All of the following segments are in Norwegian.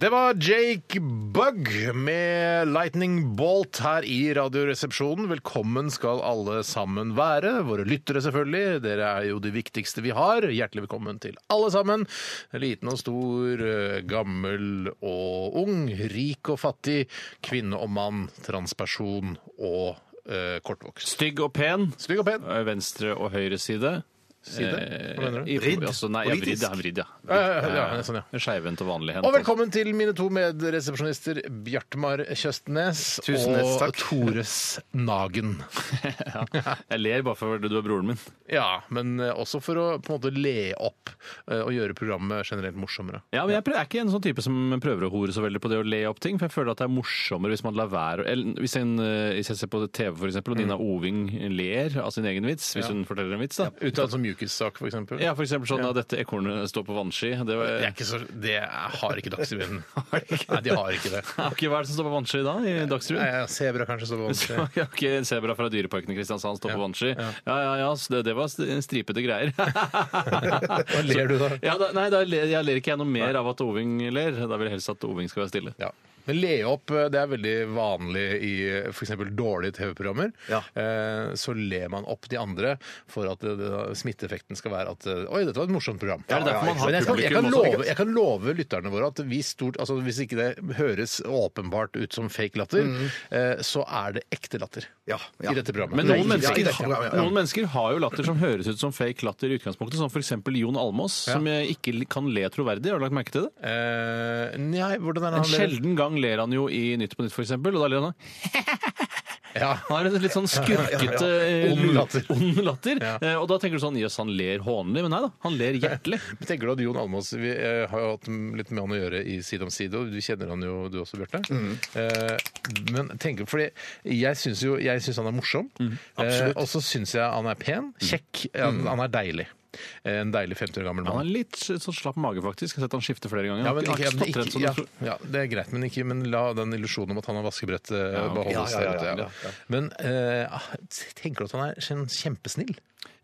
Det var Jake Bugg med Lightning Bolt her i Radioresepsjonen. Velkommen skal alle sammen være. Våre lyttere, selvfølgelig. Dere er jo de viktigste vi har. Hjertelig velkommen til alle sammen. Liten og stor, eh, gammel og ung, rik og fattig, kvinne og mann, transperson og eh, kortvokst. Stygg og pen. Stygg og pen. Eh, Venstre og høyre side. Side? Hva mener du? Vridd? Altså, nei, ja, vridd, ja, vridd, ja. Ja, ja, ja, sånn, ja. Skeivhendt og vanlighendt. Og velkommen til mine to medresepsjonister Bjartmar Tjøstnes Tusenhets og takk. Tores Nagen. ja. Jeg ler bare fordi du er broren min. Ja, men eh, også for å på en måte le opp eh, og gjøre programmet generelt morsommere. Ja, men jeg prø- er ikke en sånn type som prøver å hore så veldig på det å le opp ting, for jeg føler at det er morsommere hvis man lar være å eller hvis, en, eh, hvis jeg ser på TV for eksempel, og Nina Oving ler av sin egen vits, hvis hun forteller en vits, da. Ut av en sånn mjukissak, for eksempel. Ja, for eksempel sånn at dette ekornet står på vannski. Det var, Det, er ikke så, det er- har ikke Dagsrevyen. Nei, de har ikke det. Ok, hva er det som står på vannski da, i Dagsrevyen? Nei, Sebra kanskje så vanskelig. Så, ok, En sebra fra Dyreparken i Kristiansand står på vannski. Ja, ja, ja, så det, det var st- stripete greier. Hva ler du da? Ja, da nei, da ler, jeg ler ikke jeg noe mer av at Oving ler. Da vil jeg helst at Oving skal være stille. Ja. Men le opp eh, det er veldig vanlig i f.eks. dårlige TV-programmer. Eh, Så ler man opp de andre for at eh, det- det- smitteeffekten skal være at eh, Oi, dette var et morsomt program. det derfor man har Men jeg kan, jeg, kan publikum også? love, jeg kan love lytterne våre at vi stort, altså hvis ikke det høres åpenbart ut som fake latter, Mm. eh, så er det ekte latter Ja, i ja. dette programmet. Men Nei, noen ja, mennesker, det er ikke- ja, ja. noen mennesker har jo latter som høres ut som fake latter i utgangspunktet, som f.eks. Jon Almås, som jeg ikke kan le troverdig. Har du lagt merke til det? Eh, Nei, hvordan er det han En ler? sjelden gang ler han jo i Nytt på Nytt, f.eks., og da ler han sånn. Ja. Han har en litt sånn skurkete, eh, Ond latter. ond latter. Eh, Og da tenker du sånn jøss, han ler hånlig, men nei da, han ler hjertelig. Tenker du at Jon Almaas Vi eh, har jo hatt m- litt med han å gjøre i Side om side, og du kjenner han jo du også, Bjarte. Mm. Eh, men tenker, fordi jeg syns jo jeg synes han er morsom, Mm. eh, og så syns jeg han er pen, kjekk, han, han er deilig. Eh, En deilig 50 år gammel Han mann. har litt sånn slapp mage, faktisk. Jeg har sett han skifte flere ganger. Ja, men ikke, Han har ikke, stått rett som ja, det sto- ja, det er greit, men, ikke, men la den illusjonen om at han har vaskebrett eh, beholdes. Ja, ja, ja, der ute, ja, Men eh, tenker du at han er sånn kjempesnill?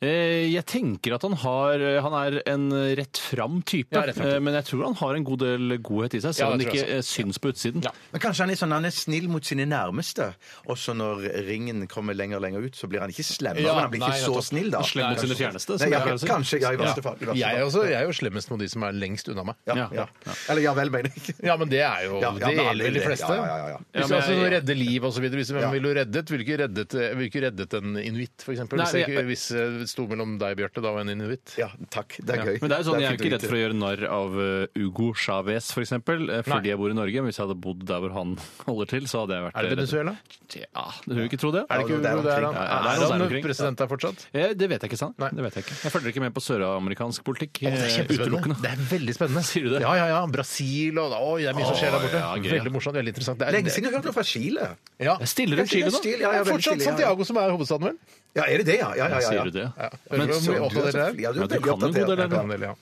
Eh, Jeg tenker at han, har, eh, han er en rett fram type, Ja, rett fram type. Eh, men jeg tror han har en god del godhet i seg, selv Ja, om det det tror jeg ikke eh, syns på utsiden. Men kanskje han er, sånn, han er snill mot sine nærmeste. Også når ringen kommer lenger og lenger ut, så blir han ikke slemmere, Ja, men han blir ikke nei, så nettopp. snill, da. Han slenger mot Nei, sine fjerneste, Nei, som ja, jeg pleier å si. kanskje, ja, i verste fall. i verste Jeg er, fall. også, jeg er jo slemmest mot de som er lengst unna meg. Ja, ja. Eller ja vel, mener jeg. Ja, men det er jo Ja, ja, Det men gjelder vel de alle vil det. fleste. Ja, ja, ja, ja. Hvis Ja, men altså, jeg- redde liv og så videre, hvis, hvem Ja. ville du reddet? Ville ikke reddet, eh, ville ikke reddet en inuitt, for eksempel? Nei, Hvis, jeg, men jeg- ikke- hvis eh, det sto mellom deg, Bjarte, da og en inuitt? Ja, takk. Det er gøy. Men det er jo sånn, Jeg er jo ikke fint å redd for å gjøre narr av eh, Hugo Chávez, f.eks., Nei. eh, fordi jeg bor i Norge. Men hvis jeg hadde bodd der hvor han holder til, så hadde jeg vært eh, Er det redd. Venezuela? Ja, du vil ikke tro det. Er det ikke det er Hugo der han omkring. Ja, ja, Er det er noe der han omkring. president der fortsatt? Eh, Det vet jeg ikke, sant? Nei. Det vet jeg ikke. Jeg følger ikke med på søramerikansk politikk. Å, det er eh, utelukkende. kjempespennende. Det er veldig spennende. Sier du det? Ja, ja, ja. Brasil og Oi, det er mye som skjer der borte. ja, gøy, ja. veldig morsomt, veldig interessant. Det er, Lenge siden jeg har hørt noe fra Chile. Ja. Jeg stiller opp Chile, Kanskje da. Chile, Det ja, ja, er veldig fortsatt Chile, ja, ja. Santiago som er hovedstaden, vel? Ja, er det det, ja? Ja, ja, ja. Sier du det? Ja. Men Hører du så- hvor mye du er opptatt dere så- er? Ja, du Ja, er du veldig kan jo oppdatert. god del, Jeg eller? kan en del, ja.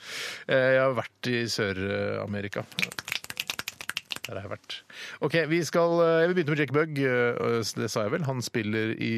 Eh, Jeg har vært i Sør-Amerika. Der har jeg vært. Ok, vi skal eh, Jeg vil begynne med Jack Bugg. eh, Det sa jeg vel. Han spiller i,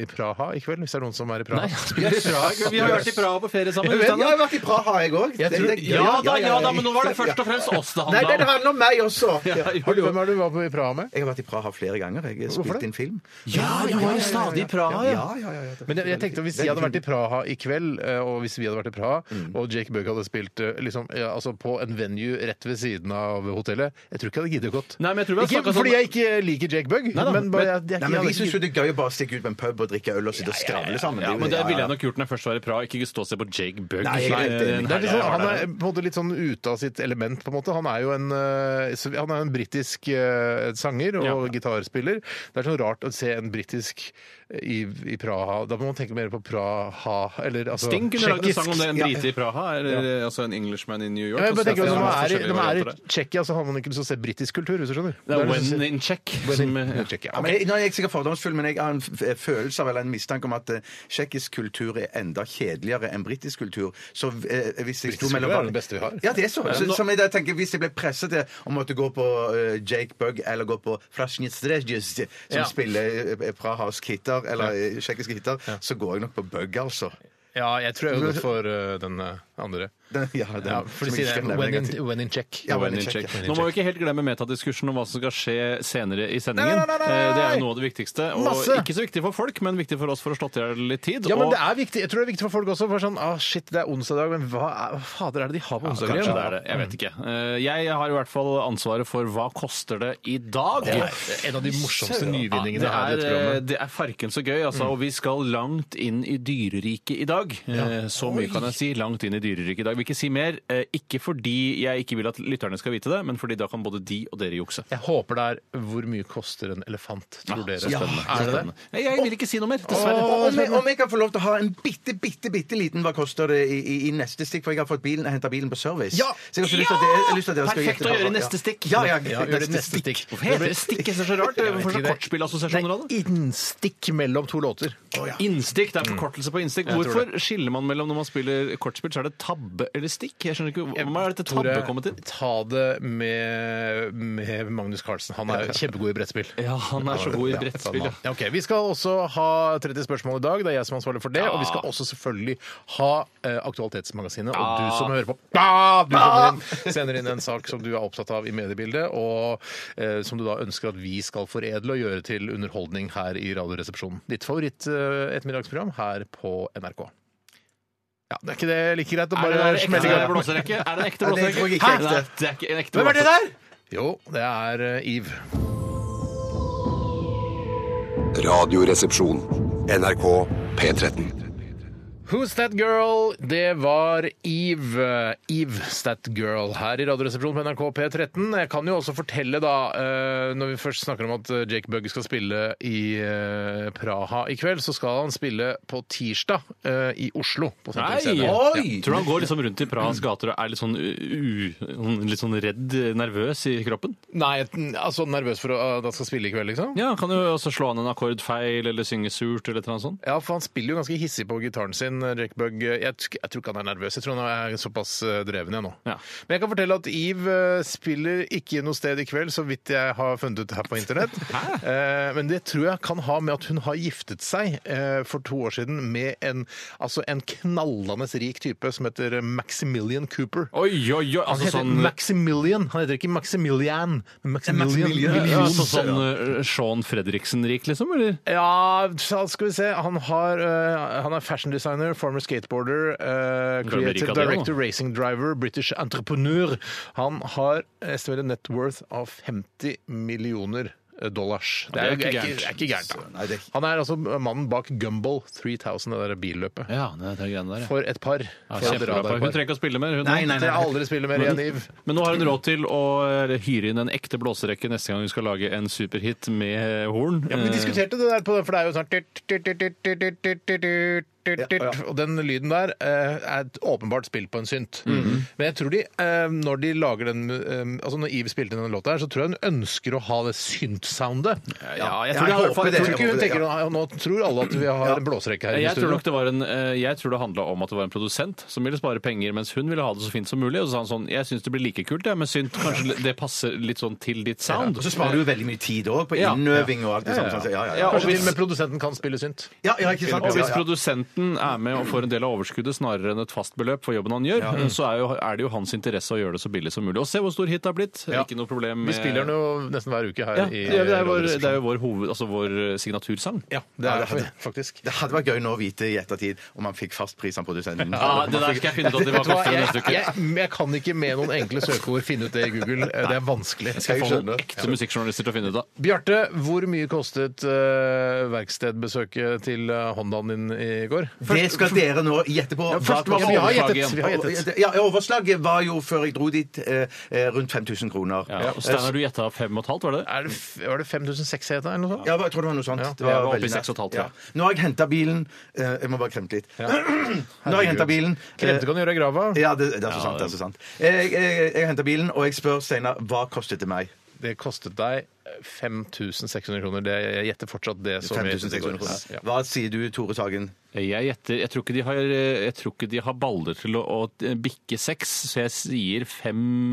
i Praha i kveld, hvis det er noen som er i Praha. Nei, han spiller i Praha. Vi har vært i Praha på ferie sammen. Jeg vet, Ja, jeg Steinar. har vært i Praha, jeg òg. Ja da, ja da, men nå var det først og fremst oss det Nei, det handla om. handler om meg også. Ja, Ja. Har du- Hvem er du var på i Praha med? Jeg har vært i Praha flere ganger. Jeg har Hvorfor det? spilt inn film. Ja, du var jo stadig i Praha, ja. Ja, ja, ja, ja. Men jeg, jeg tenkte at Hvis jeg hadde vært i Praha i kveld, eh, og hvis vi hadde vært i Praha, Mm. og Jake Bugg hadde spilt eh, liksom, ja, altså på en venue rett ved siden av hotellet Jeg tror ikke jeg hadde giddet gått. Nei, men jeg tror vi har Ikke snakket sånn- fordi jeg ikke liker Jake Bugg, da, men bare jeg, jeg, Nei, men Vi hadde ikke syns jo det er gøy å bare stikke ut på en pub og drikke øl og sitte og skravle sammen. Ja, jo men Det ville jeg ja, ja. nok gjort når jeg først var i Praha. Ikke stå og se på Jake Bugg. Nei, jeg er helt Eh, enig. Det er litt Ja, sånn, ja, han ja, er på en måte litt sånn ute av sitt element, på en måte. Han er jo en, eh, så- han er en britisk eh, sanger og Ja. gitarspiller. Det er sånn rart å se en britisk i, i Praha. Da må man tenke mer på Praha eller altså, Sting kunne lagd en tsjekkisk- sang om det. En Ja. brite i Praha, eller altså en Englishman in New York. Ja, jeg så bare tenker, det Når man masse er, i- forskjellige når man er varianter i der. Tsjekkia, så har man ikke lyst til å se britisk kultur, hvis du skjønner. det Da er lyst til å When se- in Check. When Som, in- ja. Tsjekkia. Ja, men jeg, nå er jeg sikkert fordomsfull, men jeg har en f- f- følelse av eller en mistanke om at eh, tsjekkisk kultur er enda kjedeligere enn britisk kultur. Så eh, hvis jeg sto Britisk mellom kultur er det beste vi har. Ja, det er så. så, nå- som jeg da tenker, Hvis jeg ble presset til å måtte gå på eh, Jake Bug eller gå på Frasjnitsdrezjus, som Ja. spiller eh, prahask hitter, eller eh, tsjekkiske hitter, så går jeg nok på Bug, altså. Ja, jeg tror jeg har gått for eh, den eh, andre. Den, ja, den, Ja, for som de sier jeg ikke det. skal nevne When in, negativt. when in check. Ja, When men in jeg check. sjekker. Nå må vi ikke helt glemme metadiskursen om hva som skal skje senere i sendingen. Nei, nei, nei, nei, Eh, Det er nei. jo noe av det viktigste. Og Masse. ikke så viktig for folk, men viktig for oss for å slå til i hjel litt tid. Ja, men og- det er viktig. Jeg tror det er viktig for folk også. For sånn, ah, shit, det er onsdag i dag, men hva, er, hva fader er det de har på onsdager Kanskje igjen? det er det. Jeg Mm. vet ikke. Eh, Jeg har i hvert fall ansvaret for hva koster det i dag. En av de morsomste Ja, nyvinningene det her i er, eh, dette programmet. Mm. det er farken så gøy, altså. Og vi skal langt inn i dyreriket i dag. Eh, Så mye kan jeg si. Langt inn i dyreriket i dag. Vil ikke si mer. eh, Ikke fordi jeg ikke vil at lytterne skal vite det, men fordi da kan både de og dere jukse. Jeg håper det er hvor mye koster en elefant, tror dere. så spennende. Ja, er det det? Nei, Jeg vil ikke si noe mer, Og dessverre. om jeg, om jeg kan få lov til å ha en bitte, bitte bitte liten Hva koster det i, i, i neste stikk? For jeg har fått bilen, henta bilen på service. Ja! Så jeg har også lyst til at dere, jeg har lyst til at dere skal Perfekt gjette å på- gjøre i neste stikk. Ja, ja, Ja, gjør det neste stikk. Hvorfor heter det stikk? Jeg synes Det er så rart. Jeg vet ikke, Hvorfor så det er- kortspillassosiasjoner av det? Det er innstikk mellom to låter. Innstikk, det er forkortelse på innstikk. Jeg tror Hvorfor skiller man mellom når man spiller kortspill, så er det tabbe eller stikk? Jeg skjønner ikke, Hva er dette tabbe Tore, kommet til? ta det med, med Magnus Carlsen. Han er kjempegod i brettspill. Ja, han er så god i Ja, brettspill, ja. sånn, ja. Ok, Vi skal også ha 30 spørsmål i dag. Det er jeg som er ansvarlig for det. Og vi skal også selvfølgelig ha eh, Aktualitetsmagasinet. Og du som hører på Ja, Du sender inn, sender inn en sak som du er opptatt av i mediebildet, og eh, som du da ønsker at vi skal foredle og gjøre til underholdning her i Radioresepsjonen. Ditt favoritt-ettermiddagsprogram her på NRK. Ja, Det er ikke det like greit å Er det, bare er det smelle i ekte gang? blåserekke? Er det en ekte Nei, det tror blåserekke? jeg ikke er ekte. Nei, det er ikke en ekte Hvem er det blåserekke. Jo, det er eh, Eve. Radioresepsjon. NRK P13. Who's That Girl? Det var Eve. Eve That Girl her i Radioresepsjonen på NRK P13. Jeg kan jo også fortelle, da, eh, når vi først snakker om at eh, Jake Bugg skal spille i eh, Praha i kveld, så skal han spille på tirsdag eh, i Oslo. På Sentrum Scene. Nei! Ja. Ja. Tror du han går liksom rundt i Prahas gater og er litt sånn, u, u, litt sånn redd, nervøs i kroppen? Nei, altså nervøs for å- at han skal spille i kveld, liksom? Ja, Han kan jo også slå an en akkord feil eller synge surt eller et eller annet sånt. Ja, for han spiller jo ganske hissig på gitaren sin, Jack Bugg. Jeg, tr- jeg tror ikke han er nervøs. Jeg tror han er såpass eh, dreven jeg nå. Ja. Men jeg kan fortelle at Eve eh, spiller ikke noe sted i kveld, så vidt jeg har funnet ut her på internett. Eh, Men det tror jeg kan ha med at hun har giftet seg eh, for to år siden med en, altså en knallende rik type som heter Maximilian Cooper. Oi, oi, oi! Han Altså heter sånn Maximilian. Han heter ikke Maximilian, men Maximilian. ja, altså sånn eh, Sean Fredriksen-rik, liksom? Eller? Ja, så skal vi se. Han, har, eh, han er fashion designer, former skateboarder, eh, Blir rik creative av det, director, racing driver, British entreprenør. Han har estimert en net worth av 50 millioner eh, dollars. Det er, Det er jo ikke ikke, er ikke gærent. Nei, Da. det er ikke- Han er altså mannen bak Gumball 3000, det der billøpet. Ja, det er greiene der, ja. For et par. Ja, For et kjempebra par. Hun radarpar. trenger ikke å spille mer. Hun Nei, nei, Så jeg aldri spiller mer igjen, Iv. Men nå har hun råd til å eh, hyre inn en ekte blåserekke neste gang hun skal lage en superhit med eh, horn. Ja, men Eh. Vi diskuterte det der, på den, for det er jo sånn tut, tut, tut, tut, tut, tut, tut, tut, tut, tut, Ja, ja. Og den lyden der eh, er et åpenbart spilt på en synt. Mhm. Men jeg tror de, eh, når de lager den eh, Altså når Eve spilte inn den låta her, så tror jeg hun ønsker å ha det synt-soundet. Ja, jeg Ja, tror jeg det har- håper jeg Jeg det. tror tror ikke hun tenker "Å, Nå tror alle at vi har en blåserekke her i Jeg tror studio. nok det var en eh, Jeg tror det handla om at det var en produsent som ville spare penger, mens hun ville ha det så fint som mulig. Og så sa han sånn Jeg syns det blir like kult, jeg, men synt kanskje det passer litt sånn til ditt sound. Og så sparer du jo veldig mye tid òg, på Ja. innøving og alt det samme. sånn, så- Ja, ja, ja. Ja, Kanskje til og med produsenten kan spille synt. Ja, ja, ikke sant? Og hvis Ja, ja. produsenten er med og får en del av overskuddet snarere enn et fast beløp for jobben han gjør, så er, jo, er det jo hans interesse å gjøre det så billig som mulig. Og se hvor stor hit det har blitt. Ja. Ikke noe problem Vi spiller den jo nesten hver uke her. Ja, i det, er, det, er vår, Radioresepsjonen. det er jo vår, hoved, altså vår eh, signatursang. Ja, det er det faktisk. Det hadde vært gøy nå å vite i ettertid om han fikk fast pris av produsenten. Ja, det der skal jeg finne ut at vi Vet du var hva, kaffe jeg, neste uke. jeg, jeg kan ikke med noen enkle søkeord finne ut det i Google. Det er vanskelig. Jeg skal få noen ekte musikkjournalister til å finne ut av. Bjarte, hvor mye kostet eh, verkstedbesøket til eh, Hondaen din i går? Det skal dere nå gjette på. Ja, først, Hva- hva- vi har gjettet, vi har gjettet. Ja, overslaget var jo, før jeg dro dit, eh, eh, rundt 5000 kroner. Ja, og Steinar, du gjetta fem og et halvt, var det det? Er det, f- var det 5600 jeg het, eller noe sånt? Ja, jeg tror det var noe sånt. det jeg var oppe i veldig nært. 6,5, ja. Nå har jeg henta bilen eh, Jeg må bare kremte litt. Nå har jeg henta bilen. Eh, Kremte kan du gjøre i grava. Ja, det, det er så sant. det er så sant. Jeg, jeg, jeg henter bilen, og jeg spør Steinar hva kostet det meg. Det kostet deg eh, 5600 kroner. Det, jeg gjetter fortsatt det som 5600 kroner. Ja. Hva sier du, Tore Sagen? Jeg gjetter Jeg tror ikke de har, eh, jeg tror ikke de har baller til å, å bikke seks, så jeg sier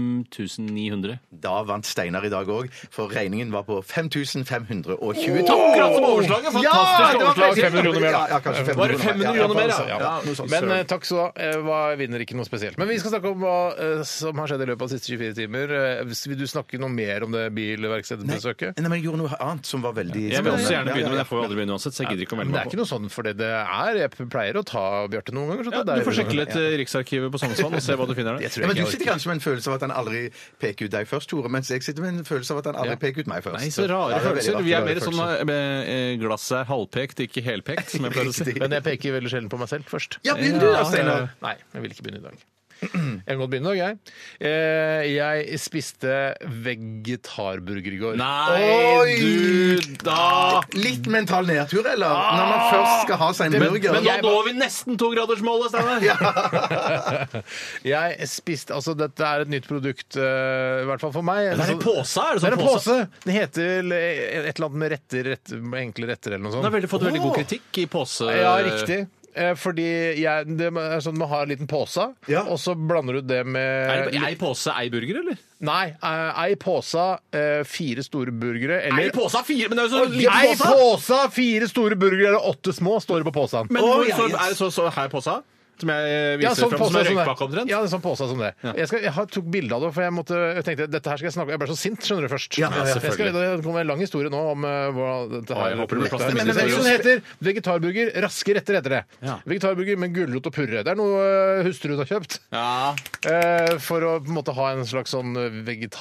5900. Da vant Steinar i dag òg, for regningen var på 5522. Akkurat som overslaget! Ja, Fantastisk det var overslag! veldig- 500 kroner mer, Ja, ja, da. kanskje Var det 500 500 kroner mer, altså, ja? ja. noe sånt. Men eh, takk så eh, hva vinner ikke noe spesielt. Men vi skal snakke om hva eh, som har skjedd i løpet av de siste 24 timer. Eh, hvis- vil du snakke noe mer om det bilverkstedbesøket? Nei, men jeg gjorde noe annet som var veldig Jeg vil også gjerne Ja, ja, begynne, men ja. jeg får jo aldri begynne uansett, så jeg gidder ikke å Men melde det er meg ikke på. noe sånn for det det er. Jeg pleier å ta Bjarte noen ganger. Så det Ja, er du deilig. får sjekke litt eh, Riksarkivet på Sandnesvann og se hva du finner Jeg der. tror Ja, ikke men Du jeg sitter orker. kanskje med en følelse av at han aldri peker ut deg først, Tore, mens jeg sitter med en følelse av at han aldri Ja. peker ut meg først. Nei, så rare Ja, det er veldig følelser. rart, Vi er rare mer sånn følelser. eh, glasset er halvpekt, ikke helpekt, som jeg pleier å si. Men jeg peker veldig sjelden på meg selv først. Ja, begynn du da, Ja, eh, Steinar. Nei, jeg vil ikke begynne i dag. Jeg kan godt begynne i dag, jeg. Eh, Jeg spiste vegetarburger i går. Nei, Oi! du Ah! da! Litt mental nedtur, eller? Når man først skal ha seg en burger. Men nå Jeg- når vi nesten togradersmålet, Steinar! Jeg spiste Altså, dette er et nytt produkt, eh, i hvert fall for meg. Det er en pose, er Det det sånn er en pose! Den heter eh, et eller annet med retter, retter med enkle retter eller noe Den sånt. har veldig, fått veldig god Åh. kritikk i pose... Ja, riktig. Eh, Fordi jeg, det er sånn man har en liten pose, Ja. og så blander du det Er med det ei pose, ei burger, eller? Nei, eh, ei pose, eh, fire store burgere eller Ei pose er fire, men det er jo så liten Ei pose! pose, fire store burgere eller åtte små, står det på posen. Men Å, hvor, ja, så, yes. er det så, så her pose? Som jeg viser Ja, sånn frem, pose som en som det. røykpakke omtrent? Ja, det er sånn pose som det. Jeg, skal, jeg har- tok bilde av det, for jeg, måtte, jeg tenkte dette her skal jeg snakke Jeg ble så sint, skjønner du, først. Ja, ja, ja, jeg skal, det kommer en lang historie nå om eh, hva dette Å, her jeg håper det blir plass til Men- men- mindre men- seriøst. Den heter vegetarburger raske retter, heter det. Ja. Vegetarburger med gulrot og purre. Det er noe eh, hustruen har kjøpt. Ja. eh, For å på en måte ha en slags sånn eh,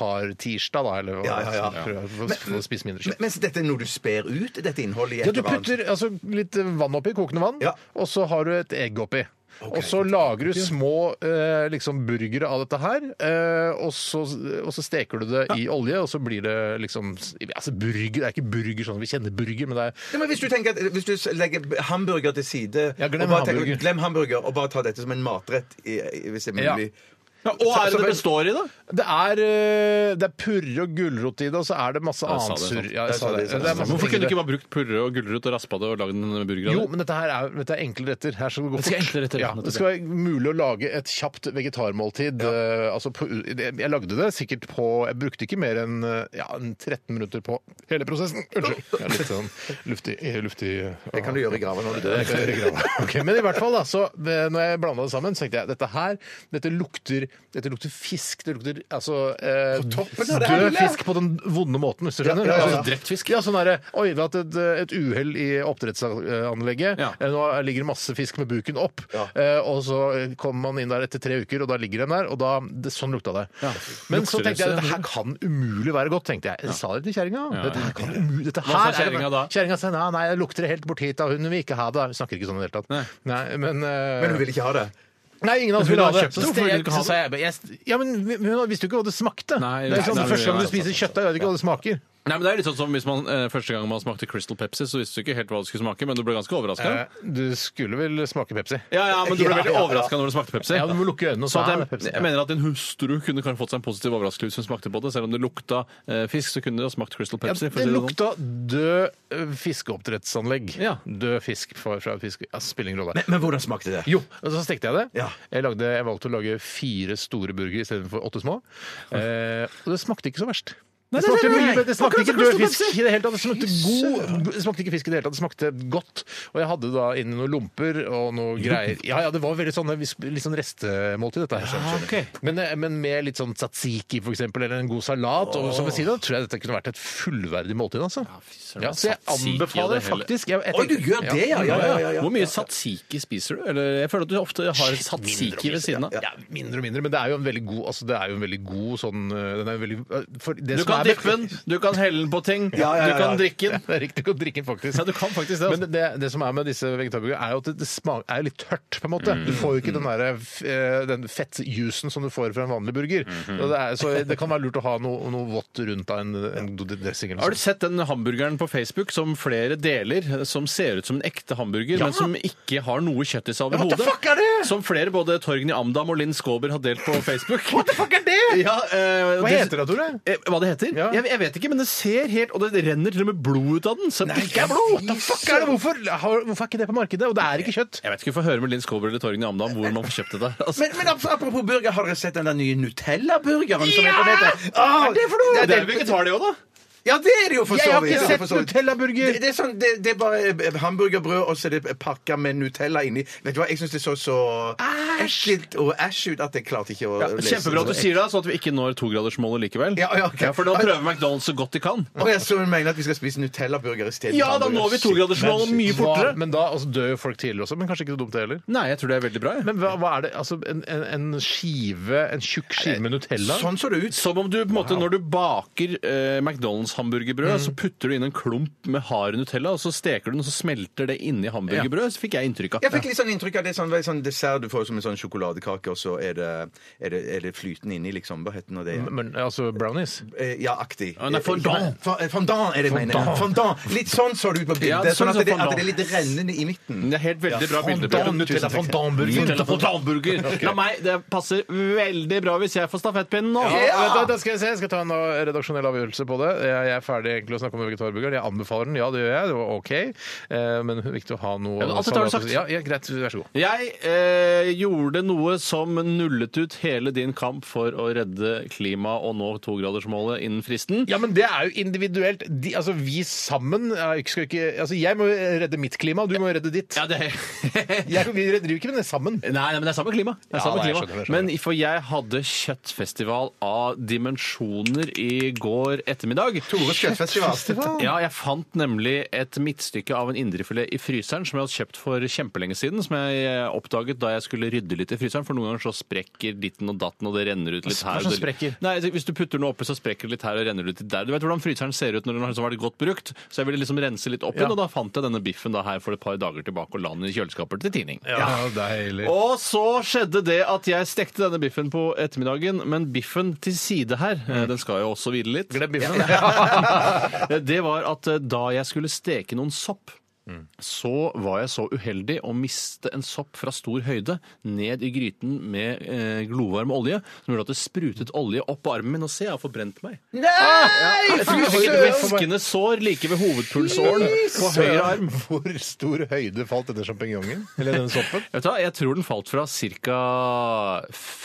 vegetartirsdag, da, eller hva- Ja, ja, ja. prøve å Men- få spise mindre kjøtt. Men- Mens dette er noe du sper ut, dette innholdet i et Ja, du eller annet. putter altså, litt vann oppi, kokende vann, Ja. og så har du et egg oppi. Og så lager du små eh, liksom burgere av dette her, eh, og, så, og så steker du det i olje, og så blir det liksom altså burger, Det er ikke burger sånn vi kjenner burger, men det er Ja, men hvis du, tenker at, hvis du legger hamburger til side Ja, glem og bare hamburger. glem hamburger og bare ta dette som en matrett, i, i, hvis det er Ja. mulig. Og hva er det det består i, da? Det er, eh, det er purre og gulrot i det, og så er det masse jeg sa annet det, surr. sant. Ja, jeg sa det. jeg sa Altså, det. Det er masse Hvorfor ting i kunne du det. ikke bare brukt purre og gulrot og raspa det og lagd en burger av Jo, det? men dette her er, dette er enkle retter. Her skal det gå Det skal fort. enkle retter, ja, nettopp, det skal være mulig å lage et kjapt vegetarmåltid. eh, altså på, jeg lagde det sikkert på Jeg brukte ikke mer enn eh, ja, en 13 minutter på hele prosessen. Unnskyld. Jeg er litt sånn luftig, luftig Det kan du gjøre i grava når du dør. Det kan jeg gjøre i grava. Ok, men i hvert fall, da, så eh, når jeg blanda det sammen, så tenkte jeg dette her dette lukter, dette lukter fisk. Det lukter altså eh, av det hele! død fisk på den vonde måten, hvis du skjønner. ja, ja, ja. Altså, drept fisk. Ja, sånn derre Oi, vi har hatt et, et uhell i oppdrettsanlegget. Ja. Eh, Nå ligger det masse fisk med buken opp. Ja. Eh, og så kommer man inn der etter tre uker, og da ligger den der. Og da, det, sånn lukta det. Men så tenkte Lukter det jeg så- dette her kan umulig være godt, tenkte jeg. Jeg sa det til kjerringa. Dette her kan umulig Dette Hva sa her er det- kjerringa da? Kjerringa sa nei, nei, jeg lukter det helt bort hit, da. Hun vil ikke ha det. Hun snakker ikke sånn i det hele tatt. Nei. men, eh, Men hun vil ikke ha det. Nei, ingen av oss Men hun ville ha har det. kjøpt Så det. Hvorfor ste- vil du ikke ha så sa jeg, jeg, ja, men Hun visste jo ikke hva det smakte. Nei, det er sånn, nei, Første gang nei, du spiser kjøttdeig, vet du ikke hva det smaker. Nei, men det er litt sånn som hvis man eh, første gang man smakte Crystal Pepsi, så visste du ikke helt hva det skulle smake, men du ble ganske overraska. Eh, Du skulle vel smake Pepsi? Ja, ja, men du ble Ja, veldig ja, ja. overraska når du smakte Pepsi. Ja, du må lukke øynene og ta Så at det, jeg, Pepsi. jeg mener at din hustru kunne kanskje fått seg en positiv overraskelse hvis hun smakte på det. Selv om det lukta eh, fisk, så kunne det ha smakt Crystal Pepsi. for å det si det sånn. lukta død eh, fiskeoppdrettsanlegg. Ja. Død fisk fra, fra fisk... Ja, spiller ingen rolle. Men, men hvordan smakte det? Jo, og så stekte jeg det. Ja. Jeg, lagde, jeg valgte å lage fire store burgere istedenfor åtte små. Eh, og det smakte ikke så verst. Det nei, smakte, nei, mye, nei. bedre. det smakte Akkurat ikke som død Crystal fisk i det hele tatt. Det smakte, god, det smakte ikke fisk i det hele tatt. Det smakte godt. Og jeg hadde da inni noen lomper og noe greier. Ja, ja, det var veldig sånn, litt sånn restemåltid, dette her. skjønner du. Ah, ok. men, eh, men med litt sånn tzatziki, for eksempel, eller en god salat, og som ved siden av, tror jeg dette kunne vært et fullverdig måltid, altså. søren, Ja, så jeg tzatziki og det anbefaler hele. faktisk jeg, jeg Oi, du tenker- gjør det, ja! ja, ja, ja, ja. Hvor mye satsiki spiser du? Eller, jeg føler at du ofte har satsiki ved siden av. Ja, mindre og mindre, men det er jo en veldig god altså det er jo en veldig god sånn øh, den er jo veldig, øh, for det Du som kan dippe den, du kan helle den på ting, Ja, ja, ja, du kan ja. drikke den. Det er riktig å drikke den, faktisk. Ja, du kan faktisk det, altså. Men det, det som er med disse vegetarburgerne, er jo at det- det smak, er jo litt tørt, på en måte. Mm. Du får jo ikke den, der, eh, den fettjusen som du får fra en vanlig burger. Mm-hmm. Og det er, så det kan være lurt å ha noe, noe vått rundt av en, en dressing. eller noe Har du sett den hamburgeren på Facebook som flere deler, som ser ut som en ekte hamburger, men som ikke har noe kjøtt i seg Ja, what the overhodet? fuck er det? Som flere, både Torgny Amdam og Linn Skåber, har delt på Facebook. What the fuck er det?! Ja, eh, Hva heter det, Tore? Eh, Hva det heter? Ja. Jeg, jeg vet ikke, men det ser helt Og det renner til og med blod ut av den. Så det ikke er blod! What the fuck er det? Hvorfor, har, hvorfor er ikke det på markedet? Og det er ikke kjøtt. Jeg vet ikke, vi får høre med Linn Skåber eller Torgny Amdam hvor man får kjøpt det der. Altså. Men, men ap- apropos burger, har dere sett den der nye Nutella-burgeren? som er på nettet? Åh, det er for noe? det er jo vegetar, det òg, da. Ja, det er det jo for Jeg så har vidt. ikke Ja, for sett så vidt. Nutella-burger! Det, det, er sånn, det, det er bare eh, hamburgerbrød, og så er det pakka med Nutella inni. Vet du hva, jeg syns det så så ekkelt og æsj ut at jeg klarte ikke å lese Kjempebra at du sier det, sånn at vi ikke når togradersmålet likevel. Ja, ja, ok. For da prøver McDonald's så godt de kan. Å, jeg så hun mener at vi skal spise Nutella-burger istedenfor Ja, da når vi togradersmålet mye fortere. Men da altså, dør jo folk tidligere også, men kanskje ikke så dumt det heller. Nei, jeg tror det er veldig bra. jeg. Men hva, hva er det? Altså, en, en, en skive, en tjukk skive med Nutella? Sånn så det ut. Som om du på en måte, når du baker eh, Mm. McDonald's-hamburgerbrød, så putter du inn en klump med hard Nutella, og så steker du den, og så smelter det inni hamburgerbrød. Så fikk jeg inntrykk av. Jeg fikk litt sånn inntrykk av det er sånn, det er sånn dessert du får som en sånn sjokoladekake, og så er det, er det, er det flytende inni, liksom. Hva heter nå det? igjen? Men, altså brownies? Eh, Ja, aktig. Ja, nei, fondant. Ja, fa- Fondant er det jeg mener. Fondant. Litt sånn så det ut på bildet. Ja, det er sånn sånn at det, som at det er fondant. litt rennende i midten. Det er helt veldig bra bilde. Bjørn. Fondant, Nutella, Tusen takk. fondantburger. Nutella fondantburger. La meg, det passer veldig bra hvis jeg får stafettpinnen nå. Ja, Vet du, det skal jeg, se. jeg skal ta en uh, redaksjonell avgjørelse på det. Jeg jeg er ferdig egentlig å snakke om vegetarburger. Jeg anbefaler den. Ja, det gjør jeg. Det var OK. Eh, Men viktig å ha noe Ja, men alt dette har du sagt. Ja, ja, greit. Vær så god. Jeg eh, gjorde noe som nullet ut hele din kamp for å redde klimaet og nå togradersmålet innen fristen. Ja, men det er jo individuelt. De, altså, vi sammen er jo ikke- skal jo ikke Altså, jeg må jo redde mitt klima, og du må jo redde ditt. Ja, det Jeg, vi driver jo ikke med det sammen. Nei, nei, men det er samme klima. Det er Ja, samme nei, jeg klima. skjønner, jeg skjønner. Men for jeg hadde kjøttfestival av dimensjoner i går ettermiddag. Tores kjøttfestival. Ja, jeg fant nemlig et midtstykke av en indrefilet i fryseren som jeg hadde kjøpt for kjempelenge siden, som jeg eh, oppdaget da jeg skulle rydde litt i fryseren, for noen ganger så sprekker ditten og datten, og det renner ut litt Hva her. og slags det- sprekker? Nei, altså, hvis du putter noe oppi, så sprekker det litt her og renner det ut litt der. Du vet hvordan fryseren ser ut når den har liksom vært godt brukt, så jeg ville liksom rense litt opp igjen, Ja. og da fant jeg denne biffen da her for et par dager tilbake og la den i kjøleskapet til tining. deilig. Og så skjedde det at jeg stekte denne biffen på ettermiddagen, men biffen til side her, eh, den skal jo også hvile litt. Glem biffen. Det var at eh, da jeg skulle steke noen sopp, så var jeg så uheldig å miste en sopp fra stor høyde ned i gryten med eh, glovarm olje, som gjorde at det sprutet olje opp på armen min, og se, jeg har forbrent meg. Nei, Jeg har et væskende sår like ved hovedpulsåren på høyre arm. Hvor stor høyde falt denne sjampinjongen? Eller denne soppen? Vet du hva, jeg tror den falt fra ca.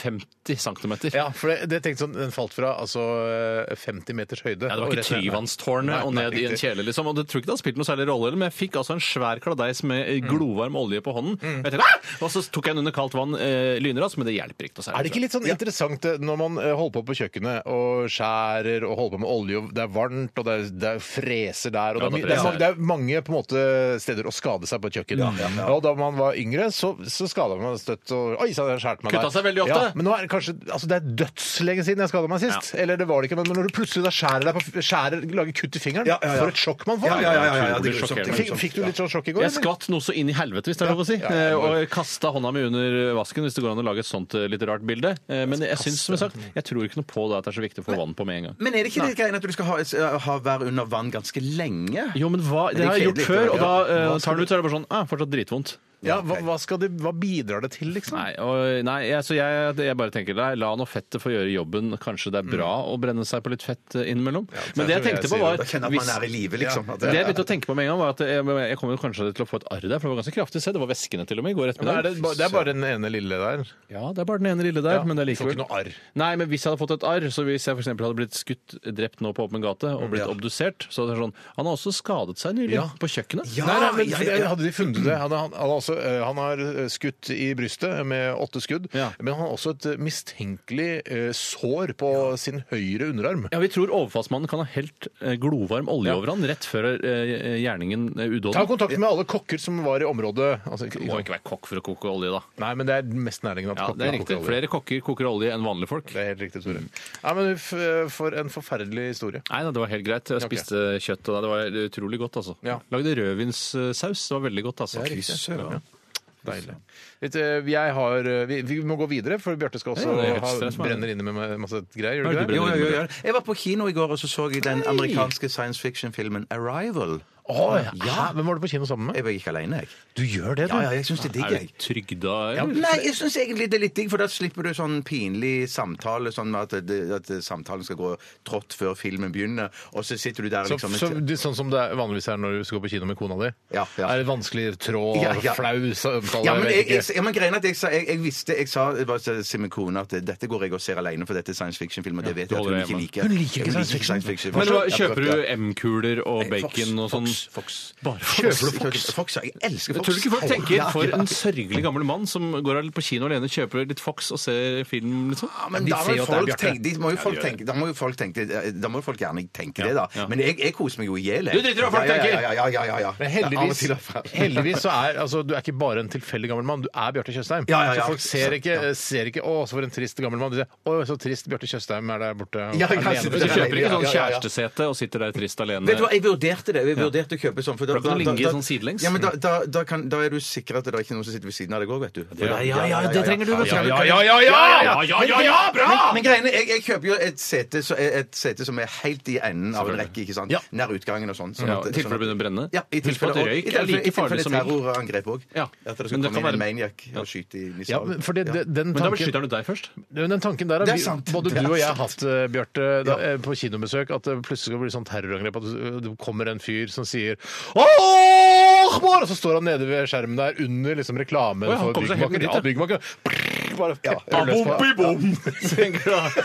50 cm. Ja, for det, det tenkte jeg sånn, Den falt fra altså eh, 50 meters høyde. Ja, Det var ikke Tryvannstårnet og ned i en kjele, liksom. Og det tror jeg ikke det har spilt noe særlig rolle heller, men jeg fikk altså en svær kladeis med eh, glovarm olje på hånden. Jeg tenkte, «Ah!» og så tok jeg den under kaldt vann eh, lynraskt, men det hjelper ikke noe særlig. Er det ikke litt sånn interessant eh, når man eh, holder på på kjøkkenet og skjærer og holder på med olje, og det er varmt, og det er, det er freser der og Ja, det, er, mye- det det, er, freser. mange- det er mange på en måte steder å skade seg på et kjøkken. Og da man var yngre, så, så skada man støtt og Oi, så hadde jeg skåret meg Kutta seg veldig ofte. Ja, men nå er det kanskje Altså, det er dødslenge siden jeg skada meg sist. Eller det var det ikke, men når du plutselig da skjærer deg på skjærer, lager kutt i fingeren, Ja, ja, ja. for et sjokk man får. Ja, ja, ja, ja, ja, det er Utrolig grusomt, det er Fikk, grusomt. fikk du litt sånn sjokk i går? Jeg skvatt noe så inn i helvete, hvis det er lov å si. Ja, ja, ja. Eh, Og kasta hånda mi under vasken, hvis det går an å lage et sånt eh, litt rart bilde. Eh, Men jeg syns, som jeg sagt, jeg tror ikke noe på det at det er så viktig å få vann på med en gang. Men er det ikke det greien at du skal ha, eh, ha være under vann ganske lenge? Jo, men hva, det det er har jeg gjort kjedelig, før, det er- og da eh, Hva skal tar den ut, så er det bare sånn ah, Fortsatt dritvondt. Ja, hva, hva, skal det, hva bidrar det til, liksom? Nei, og, nei jeg, så jeg, jeg bare tenker nei, la nå fettet få gjøre jobben. Kanskje det er bra å brenne seg på litt fett eh, innimellom. Men det jeg tror jeg tenkte på, sier var Da kjenner jeg at man er i live, liksom. At det jeg begynte å tenke på med en gang, var at jeg, jeg kommer jo kanskje til å få et arr der, for det var ganske kraftig. Se, det var væskende til og med i går Men er ettermiddag. det, ba- det er bare den ene lille der. Ja, det er bare den ene lille der, men det er Får likevel ikke noe arr. Nei, men hvis jeg hadde fått et arr, så hvis jeg for eksempel hadde blitt skutt, drept nå på åpen gate og blitt Ja. obdusert, så hadde det vært sånn Han har også skadet seg nylig, Ja. på kjøkkenet. Ja, Nei, nei, men ja, ja, ja. Hadde de funnet det? Hadde han, hadde også også eh, Han har eh, skutt i brystet med åtte skudd, Ja. men han har også et eh, mistenkelig eh, sår på sin høyre underarm. Ja, Vi tror overfallsmannen kan ha helt eh, glovarm olje over han rett før eh, gjerningen eh, Ta udåden. kontakt med alle kokker som var i området. Altså, ikke- Du må ikke være kokk for å koke olje, da. Nei, men det er mest nærliggende at Ja, kokker det er riktig. koker olje. Flere Mm. kokker koker olje enn vanlige folk. Det er helt riktig, Tore. Ja, men f eh, For en forferdelig historie. Nei, nei, det var helt greit. Jeg spiste kjøtt, og det var utrolig godt, altså. Ja. Lagde rødvinssaus. Det var veldig godt, altså. Det er riktig. Fy søren. Ja. Deilig. Litt, eh, jeg har, eh, vi, vi må gå videre, for Bjarte skal også Ja, det er helt ha, stress, man. brenner inne med masse greier. Gjør Hva er du ikke det du det? Jo, brenner jo, jo. Jeg var på kino i går, og så så jeg den amerikanske science fiction-filmen 'Arrival'. Å, ja. Hvem var du på kino sammen med? Jeg var ikke alene, jeg. Du gjør det, Ja, ja, jeg syns det er digg, Er jeg. du trygda? Ja, eller? Nei, jeg syns egentlig det er litt digg, for da slipper du sånn pinlig samtale, sånn at, det, at samtalen skal gå trått før filmen begynner, og så sitter du der Så, liksom så, det- sånn som det er vanligvis er når du skal på kino med kona di? Ja, ja. Er det vanskelig tråd, Ja, ja. flau samtale? ja, men jeg vet jeg, jeg, ikke. ja, men greien er at jeg, sa, jeg, jeg visste Jeg sa jeg bare til til min kone at dette går jeg og ser alene, for dette er science fiction-film, og det vet jeg at holder hun deg hjemme. ikke liker. Hun liker ikke science fiction. Men hva, Ja, kjøper ja. du M-kuler og Nei, Fox, bacon og sånn? Fox, Fox. Bare Fox, Kjøper du Fox? Fox, ja. Jeg elsker Fox. Tror du ikke folk tenker Ja, for ja. en sørgelig gammel mann som går på kino alene, kjøper litt Fox og ser film, liksom? Ja, men De da ser må, jo jo at det er folk Bjarte. tenke, de må jo folk tenke, da må jo folk tenke Da må jo folk gjerne tenke det, da. ja. Men jeg, jeg koser meg jo i hjel. jeg. Du driter i hva folk Ja, ja, tenker. Ja, ja, ja, ja, ja. Men Av og heldigvis, til og fra. heldigvis så er altså, du er ikke bare en tilfeldig gammel mann, du er Bjarte Tjøstheim. Ja, ja, ja. Så folk ser ikke, ser ikke 'Å, så for en trist gammel mann'. De sier 'Å, så trist Bjarte Tjøstheim er der borte Ja, alene'. Du kanskje det er kjøper ikke Ja, sånn ja, ja, ja. kjærestesete og sitter der trist alene? Vet du hva, Jeg vurderte det. Jeg vurderte å kjøpe sånn. For For da kan du ligge sånn sidelengs. Ja, men da, da, da, kan, da er du sikker at det er ikke noen som sitter ved siden av deg òg, vet du. For da- ja, ja, det trenger du, vet du. Ja, ja, ja, ja, ja! Ja, ja, ja, ja, bra! Men, men greiene, jeg, jeg kjøper jo et sete, så, et sete som er helt i enden av en Selvfølgelig. rekke, ikke sant? Ja. nær utgangen og sånn. sånn Ja, at- I tilfelle det sånn at- begynner å brenne? Ja, i tilfelle at det røyk er like farlig som ild? terrorangrep òg. Ja. At det Men skal det komme kan inn være- en maniac Ja. og skyte i Ja, Nissan. men for det, det, den, Men da beskytter tanken, han jo deg først. den tanken der Det har er vi- sant. både Det er du og jeg har sant. hatt, eh, Bjarte, da, Ja. eh, på kinobesøk, at det plutselig skal bli sånn terrorangrep. At du- det kommer en fyr som sier «Åh, Akbar!» Og så står han nede ved skjermen der under liksom reklamen Å ja, han for kom seg helt byggmaker. dit, Ja, ja. byggmaker. Prrr, Bare pepper løs på. Gjør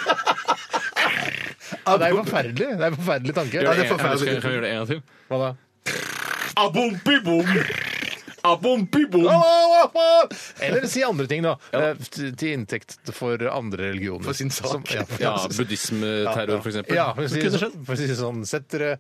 Ja, det er jo forferdelig. Det er en forferdelig tanke. Ja, det det er en- Kan forferdelig. jeg gjøre det en gang til? Hva da? Abompibom! Eller si andre ting, da. Eh, Til til inntekt for andre religioner. For sin sak. ja, Ja, altså, ja. buddhismeterror, for eksempel. Ja, for å si Det det kunne skjedd. sånn, for å si det sånn Sett dere,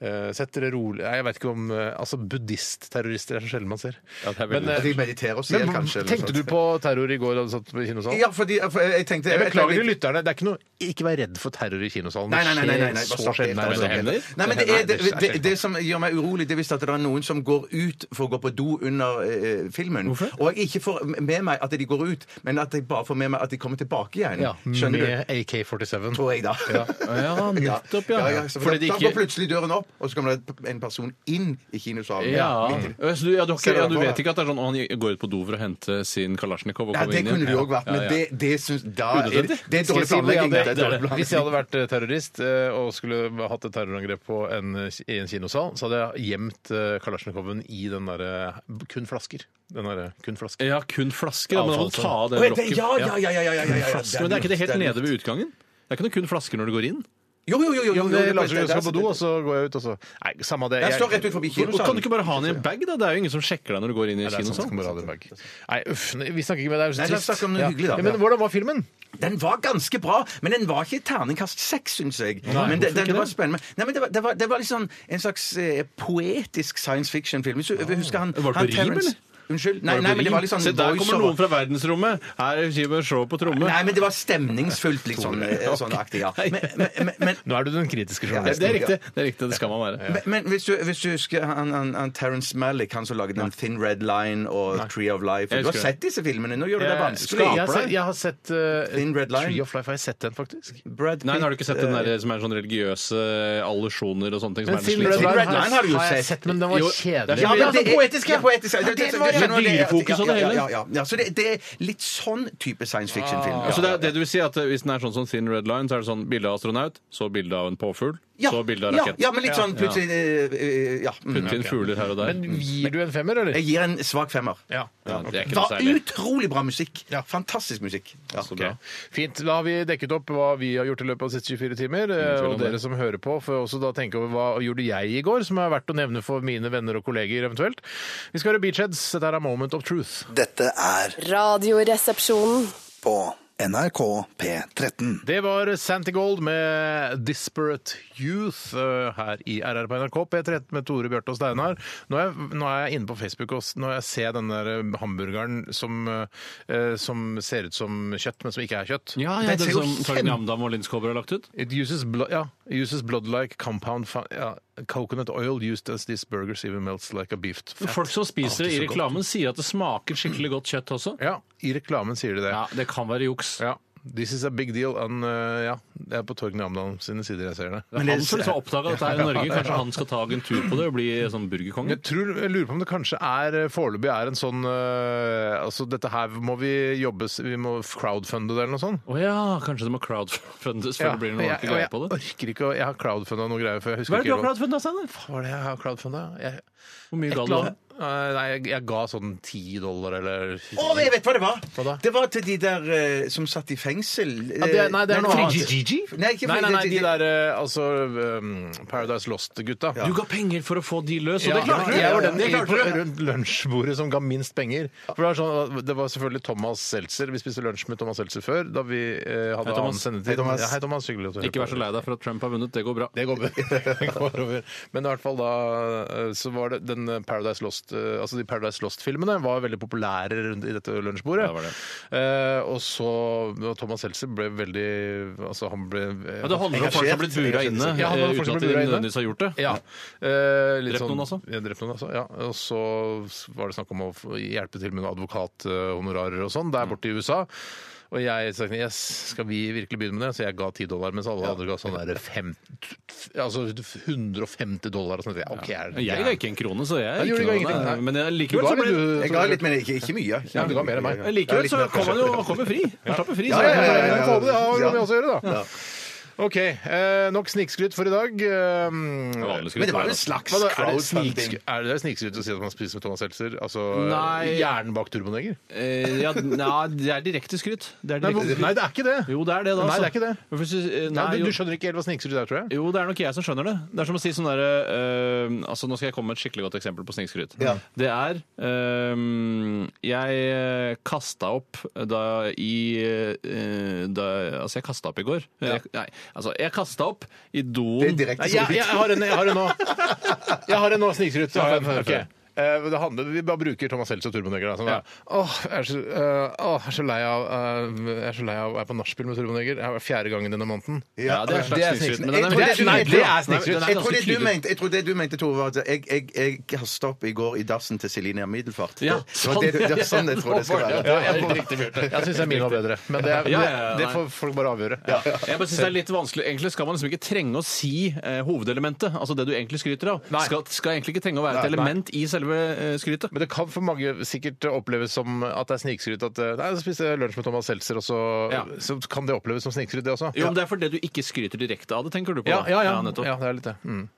eh, sett dere rolig Nei, Jeg vet ikke om eh, Altså, buddhistterrorister er så sjelden man ser. Ja, det er veldig- men, eh, At de mediterer oss men ihjel, kanskje. eller tenkte sånt. du på terror i går da du satt på kinosalen? Ja, fordi for jeg tenkte Jeg beklager til lytterne. Det er ikke noe Ikke vær redd for terror i kinosalen. Nei, nei, nei. nei, nei, nei, det skjer bare så slapp helt sjelden. men av, det slapp helt av. hender. nei, men det, Nei, er, det, det skjer det, det som gjør meg urolig, det er hvis at det er noen som går ut for å gå på do under eh, filmen. Og jeg ikke får med meg at de går ut, men at jeg bare får med meg at de kommer tilbake igjen. Ja, Skjønner du? med AK-47. Tror jeg, da. Ja, nettopp, ja. så Fordi da, de da ikke- går plutselig døren opp, og så kommer det en person inn i kinosalen. Ja. midt i- Så du, ja, du, har Ser ikke, du ja, det du på vet meg? ikke at det er sånn «Å, han går ut på do for å hente sin kalasjnikov og Ja, komme det inn igjen? kunne det jo òg vært, men Ja, ja. det, det syns Da er det, Unødvendig. det er Skal dårlig jeg si hvor jeg planlegging. hadde- det er dårlig Hvis jeg planlegging. hadde vært eh, terrorist eh, og skulle hatt et terrorangrep på en, eh, i en kinosal, så hadde jeg gjemt eh, Kalasjnikoven i den derre kun flasker. Den derre kun flasker. Ja, kun flasker. Ja, men da må du ta av Å, den ja, det- blokken. Ja, ja, ja, ja, ja, ja, ja, ja, ja. Flasker, Men det er ikke det helt lurt, nede lurt. ved utgangen? Det er ikke noe kun flasker når du går inn? Jo, jo, jo. jo, jo, jo, Jeg jo, later som jeg det er- skal på do, og så går jeg ut, og så Nei, samme det. Jeg står rett ut forbi Og kinosalen. Kan du ikke bare ha den i en bag, da? Det er jo ingen som sjekker deg når du går inn i sånn. Nei, det sånn er sant, skal kinosalen. bare ha det i bag. Nei, uff, nei, vi snakker ikke med deg. Nei, la oss snakke om noe hyggelig, da. Ja, men hvordan var filmen? Den var ganske bra, men den var ikke terningkast seks, syns jeg. men det, hvorfor ikke den, det var det? spennende. Nei, men det var, det var, det var liksom en slags eh, poetisk science fiction-film. Hvis du jeg husker han Ah. Var det på han rim, Terrence- eller? Unnskyld. Nei, nei, men det var litt sånn Se, der kommer voiceover. noen fra verdensrommet! Her er Jimmy Shaw på tromme. Nei, men det var stemningsfullt, liksom. eh, Sånn aktig, ja. Men, men, men, men Nå er du den kritiske Det, journalisten. det er riktig. Det er riktig, det skal man være. men, men hvis, du, hvis du husker han, han, han Terence Malick, han som lagde den Thin Red Line og Tree of Life Jeg Du har husker sett disse filmene, nå gjør du det vanskelig. Jeg, har sett- jeg har sett eh, Thin Red Line. Tree of Life. Har jeg sett den, faktisk? Brad Pitt, Nei, har du ikke sett den eh, der som er sånn religiøse allusjoner og sånne ting? Som Men er Thin en Red slitsom- Line Line har har du jo jeg sett. sett, men altså, den var Jo, det er kjedelig. så Ja, men det er er poetisk, ja. poetisk. Ja, det var jo dyrefokus og det hele. Ja, ja, ja, ja. Så det, det er litt sånn type science fiction-film. Så det, er- det du vil si er at Hvis den er sånn som Thin Red Line, så er det sånn bilde av astronaut, så bilde av en påfugl, Ja, Så bilde av ja, rakett. Ja, men litt sånn Ja. plutselig eh, eh, Ja. mm. Putte inn fugler her og der. Mm. Men gir du en femmer, eller? Jeg gir en svak femmer. Ja. Ja, det er ikke Det noe var særlig. utrolig bra musikk. Ja. Fantastisk musikk. Ja. Så Ok. bra. Fint. Da har vi dekket opp hva vi har gjort i løpet av de siste 24 timer. eh, tvil om Og dere det. som hører på, får også da tenke over hva gjorde jeg i går, som er verdt å nevne for mine venner og kolleger eventuelt. Vi skal høre Beachheads. Dette her er Moment of Truth. Dette er Radioresepsjonen. på NRK P13. Det var Santi Gold med 'Disparate Youth' eh, her i RR på NRK P13 med Tore, Bjarte og Steinar. Nå er, jeg, nå er jeg inne på Facebook og s- når jeg ser den der eh, hamburgeren som, eh, som ser ut som kjøtt, men som ikke er kjøtt. Ja, ja, Den den ser jo som Torgeir kjempe- Namdam og Linn Skåber har lagt ut? It uses blood, ja, it uses blood-like compound fa- ja, coconut oil used as these burgers even melts like a beef fat. Folk som spiser Å, det så i godt. reklamen, sier at det smaker skikkelig godt kjøtt også. Ja, i reklamen sier de det. Ja, Det kan være juks. Ja. This is a big deal. And, uh, ja, det er på Torg Namdal sine sider jeg ser det. Det er han som liksom har oppdaga dette her i Norge. Kanskje han skal ta en tur på det og bli sånn burgerkonge? Jeg, tror, jeg lurer på om det kanskje er eh, foreløpig er en sånn uh, Altså, dette her må vi jobbe s- Vi må crowdfunde det, eller noe sånt. Å ja, kanskje det må crowdfundes før Ja, det blir noe jeg, ordentlig og greie jeg på det? orker ikke å Jeg har crowdfunda noe greier, for jeg husker Hva er det du har ikke hva- crowdfunda, Steinar? Hva var det jeg har crowdfunda? Jeg- Hvor mye Et ga du eller da? annet. Eh, Nei, jeg, jeg ga sånn 10 dollar eller Å, jeg vet hva det var! Hva da? Det var til de der eh, som satt i fengsel. Ja, det er- nei, det er Eh, noe annet. Nei, ikke Nei, nei, nei, de det- der eh, altså um, Paradise Lost-gutta. Du ga penger for å få de løs, Ja, og det klarte du! jeg var den Det i- klarte du. rundt lunsjbordet som ga minst penger. For det var, sånn, det var selvfølgelig Thomas Seltzer. Vi spiste lunsj med Thomas Seltzer før, da vi eh, hadde Hei, annen Thomas. sendetid. Hei, Thomas. Ja, hei, Thomas. Hyggelig å høre Ikke vær så lei deg for at Trump har vunnet, det går bra. Det går, det går over. Men i hvert fall da eh, så var det den Paradise Lost eh, Altså de Paradise Lost-filmene var veldig populære rundt i dette lunsjbordet. Ja, det var det. Eh, og så og Thomas Seltzer ble veldig Altså han ble Ja, det handler om folk som har blitt bura inne Ja, han eh, var uten folk som at ble de bura inne. nødvendigvis har gjort det. Ja. Eh, litt Drept sånn- noen også? Ja, drept noen også, ja. Og så var det snakk om å få hjelpe til med noen advokathonorarer og sånn der borte i USA. Og jeg sa yes, skal vi virkelig begynne med det? Så jeg ga 10 dollar, mens alle andre ga sånn der fem, altså 150 dollar. Og sånt. Ja, ok, er det Jeg ga ikke en krone, så jeg du ikke gjorde noe, ingenting, nei. nei. Men jeg Du likevel ga så litt, ble du. Jeg ga litt, men ikke, ikke mye. Ja, du ga mer enn meg. Men Likevel så kom han jo han kommer fri. Han slapp fri. Så Ja, ja, han- ja, ja, ja. Det Ja. har vi også å gjøre, da. OK. Eh, nok snikskryt for i dag. Eh, Vanlig Men skryt, det det er var jo en det. slags hva da, er det crowdfunding. snikskryt- er det snikskryt å si at man spiser med Thomas Seltzer? Altså Nei. hjernen bak turboneger? Eh, ja, nei, det er direkte skryt. Det er Nei, direkte hvor- skryt. nei, det er ikke det. Jo, det er det, Nei, da. det er altså. ikke det. Hvorfor synes- eh, Nei, nei, du, jo. du skjønner ikke helt hva snikskryt er, tror jeg. Jo, det er nok jeg som skjønner det. Det er som å si sånn derre eh, Altså, nå skal jeg komme med et skikkelig godt eksempel på snikskryt. Ja. Det er eh, Jeg kasta opp da i eh, da, Altså, jeg kasta opp i går. Jeg, nei, altså, jeg kasta opp i Det doen er direkte Nei, jeg, jeg, har en, jeg har en nå. Jeg har en nå, snikskryt. Det, har jeg. Ok. Eh, det handler, vi bare bruker Thomas Seltz og Turboneger. da, Sånn, da. Åh, jeg er så, eh, åh, jeg er så lei av eh, Jeg er så lei av å være på nachspiel med Turboneger. Det er fjerde gangen denne måneden. Ja, det er en slags Det er snikskryt. snikskryt. Men den Jeg tror er, det er- nei, jeg tror- det er snikskryt. Jeg Den er tror, ganske det du tydelig. mente, jeg tror det du mente, Tore, var at jeg, jeg, jeg kasta opp i går i dassen til Celine Middelfart. Ja, det, var det, du- det er sånn jeg tror det skal være. Ja, jeg jeg syns min var bedre, men det, er, Ja, ja, ja, det, det nei. får folk bare avgjøre. Jeg bare synes det er litt vanskelig. Egentlig skal man liksom ikke trenge å si eh, hovedelementet, altså det du egentlig skryter av. Nei. Skal, skal egentlig ikke trenge å være et Nei, nei. element i selve eh, skrytet. Men det kan for mange sikkert oppleves som at det er snikskryt. At eh, nei, så spiste jeg lunsj med Thomas Seltzer, og så, Ja. så kan det oppleves som snikskryt, det også. Jo, men Det er fordi du ikke skryter direkte av det, tenker du på. ja, da? ja, ja. nettopp. ja, det er litt det. Mm.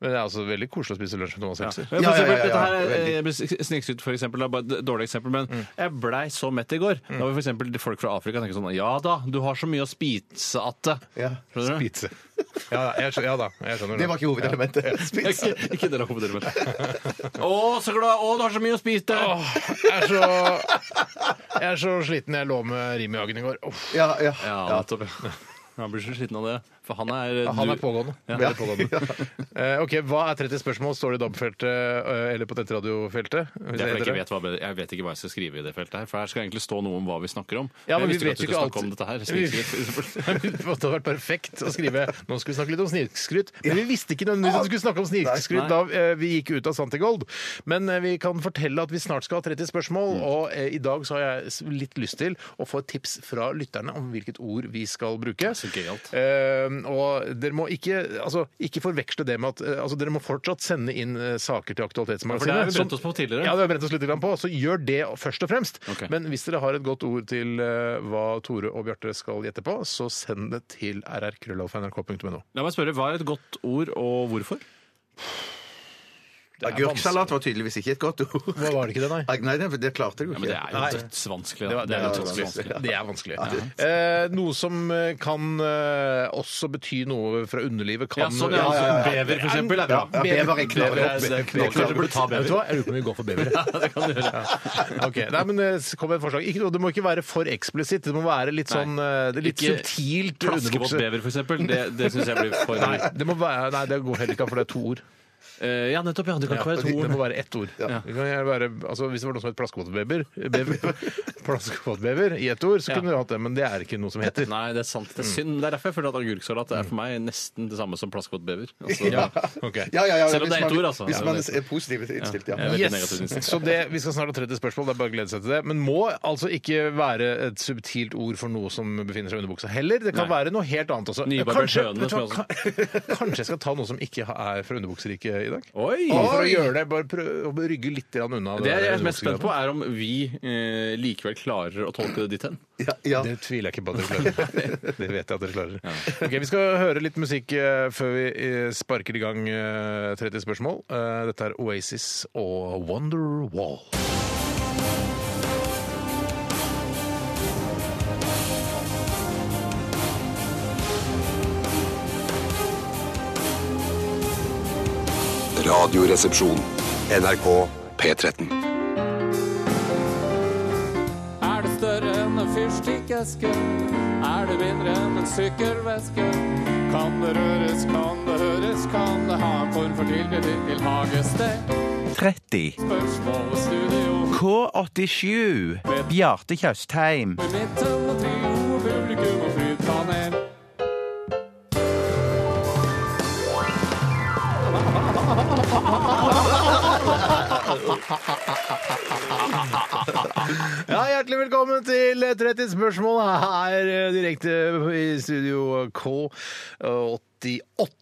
Men det er altså veldig koselig å spise lunsj med Thomas Seltzer. Men Ja, for ja, ja, eksempel, ja, dette her veldig. er, eh, Snikskryt, for eksempel, er bare et dårlig eksempel, men Mm. jeg blei så mett i går. Da var for eksempel folk fra Afrika tenker sånn Ja da, du har så mye å spise at det Ja. Skjønner du? Pizza. Ja, da, jeg, skjø- ja da, jeg skjønner Det var ikke hovedelementet. Spis. Ikke, ikke del av hovedelementet. Å, så glad! Å, du har så mye å spise! Åh, jeg, er så, jeg er så sliten jeg lå med Rimi-Hagen i går. Uff. Ja, ja. Ja, ja. nettopp. ja. Han blir så sliten av det. For han er Ja, Han du- er pågående. Veldig pågående. Eh, ok, Hva er 30 spørsmål? Står det i DAB-feltet eh, eller på nettradiofeltet? Hvis det heter Det er fordi jeg, det. ikke vet hva, jeg vet ikke hva jeg skal skrive i det feltet her. For her skal egentlig stå noe om hva vi snakker om. Ja, men vi jeg visste vet jo ikke alt. snakke om dette her. Nei, snikskryt. men Det hadde vært perfekt å skrive Nå skal vi snakke litt om snikskryt. Men vi visste ikke nødvendigvis at vi skulle snakke om snikskryt da eh, vi gikk ut av Santigold. Men eh, vi kan fortelle at vi snart skal ha 30 spørsmål, og eh, i dag så har jeg s- litt lyst til å få et tips fra lytterne om hvilket ord vi skal bruke. så gøyalt. Eh, og dere må ikke, altså, ikke forveksle det med at eh, altså, Dere må fortsatt sende inn eh, saker til Aktualitetsmagasinet. Ja, for det har vi som- brent oss på tidligere. Ja, det har vi brent oss litt grann på, så gjør det først og fremst. Ok. Men hvis dere har et godt ord til eh, hva Tore og Bjarte skal gjette på, så send det til rrkrøllalfa.nrk.no. La meg spørre, hva er et godt ord, og hvorfor? er Agurksalat var tydeligvis ikke et godt ord. Hva var det ikke det, nei? Nei, det, det klarte jeg jo Ja, ikke. men det er jo Nei. dødsvanskelig. Det, da. var, det, er jo vanskelig. det er vanskelig. Eh, noe som eh, kan eh, også bety noe fra underlivet. Kan, Ja, sånn, ja, ja, ja, ja. Bever, for eksempel, er bra. Ja, Ja, bever bever er er knall- knall- Kanskje du burde ta bever. Vet du hva? Jeg lurer på om vi går for bever. Ok, Nei, men eh, så kom med et forslag. Ikke, noe- det må ikke være for eksplisitt. Det må være litt sånn eh, det er litt Ikke subtilt Plaskevått underbukse. bever, for eksempel. Det, det syns jeg blir for Nei, det må være, nei, det går heller ikke an, for det er to ord. Eh, Ja, nettopp. Ja, det kan ikke være det to ord. må være ett ord. Det kan gjerne være, altså, hvis det var noe som het plaskevåtbever bever- plaskevåtbever i ett ord, så kunne du hatt det, men det er ikke noe som heter. Nei, det er sant. Det er synd. men Det er derfor jeg føler at agurksalat er for meg nesten det samme som plaskevåt bever. Altså, Ja, ok. Ja, ja, ja, Selv om hvis det er et man- ord, altså. Hvis Ja, man det er positivt innstilt, ja. Ja, jeg vet. negativ Yes. innstilt. Så det, Vi skal snart ha 30 spørsmål, det er bare å glede seg til det. Men må altså ikke være et subtilt ord for noe som befinner seg under buksa heller. Det kan Nei. være noe helt annet også. Nybarbert høne, vet du hva, som kan- kanskje jeg skal ta noe som ikke er fra underbukseriket i dag? Oi! Bare For å gjøre det, bare prøve å rygge litt grann unna. Det jeg er der mest spent på, er om vi eh, likevel klarer å tolke det dit hen. Ja, ja. Det tviler jeg ikke på at dere klarer. Det vet jeg at dere klarer. Ok, Vi skal høre litt musikk eh, før vi eh, sparker i gang eh, 30 spørsmål. Eh, Dette er Oasis og Wonderwall. Radioresepsjon. NRK P13. Er det større enn en fyrstikkeske? Er det mindre enn en sykkelveske? Kan det røres, kan det høres, kan det ha en form for tilknytning til hagested? 30. Spørsmål og studio K87. Bjarte Tjøstheim. i midten og trio og publikum og flypanel. Ja, Hjertelig velkommen til 30 spørsmål her eh, direkte i studio K88.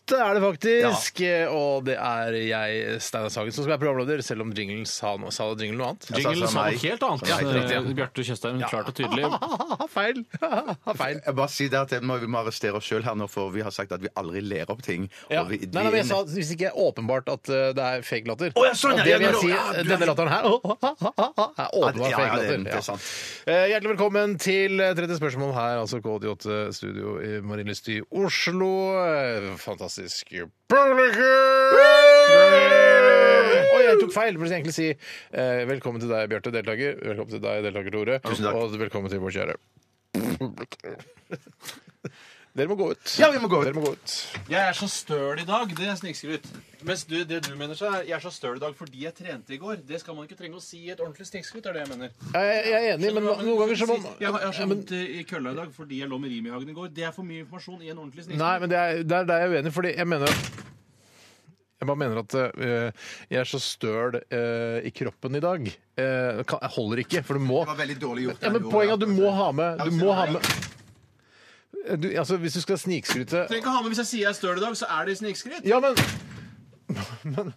er det faktisk, eh, og det er jeg, Steinar Sagen, som skal være programleder, selv om jinglen sa noe, sa jinglen noe annet. Jinglen altså, sa noe nei. helt annet. Ja, helt riktig, Eh, Bjarte Tjøstheim, klart og tydelig. Ha-ha, feil! Ha-ha, feil. Jeg bare si det at jeg må, Vi må arrestere oss sjøl her nå, for vi har sagt at vi aldri ler opp ting. Ja. Og vi, Nei, nei, men jeg sa hvis ikke åpenbart at eh, det er fake latter. Å, ja, sånn, ja, Og det ja, vil men- jeg si, ja, du- denne latteren her er åpenbart Ja, ja, fake det er- latter. det er sant. Eh, Hjertelig velkommen til eh, 30 spørsmål her, altså K88 Studio i Marienlyst i Oslo. Eh, Fantastisk publikum! Og jeg tok feil, burde jeg egentlig si eh, velkommen til deg, Bjarte, deltaker. Velkommen til deg, deltaker Tore. Tusen takk. Og velkommen til vår kjære. Dere må gå ut. Ja, vi må gå ut. Dere må gå ut. Jeg er så støl i dag, det er snikskryt. Mens du, det du mener, så er jeg er så støl i dag fordi jeg trente i går. Det skal man ikke trenge å si i et ordentlig snikskryt, er det jeg mener. Jeg, jeg er enig, men noen ganger så må man Jeg har, jeg har Ja, så men- vondt i kølla i dag fordi jeg lå med rim i hagen i går. Det er for mye informasjon i en ordentlig snikskryt. Nei, men det er, det er der jeg er uenig, fordi jeg mener jeg bare mener at eh, jeg er så støl eh, i kroppen i dag. Eh, kan, jeg holder ikke, for du må Det var veldig dårlig gjort. ja, men Poenget er at du må ha med Du må ha med du, altså, Hvis du skal snikskryte Trenger ikke ha med Hvis jeg sier jeg er støl i dag, så er det snikskryt. Ja, men Men,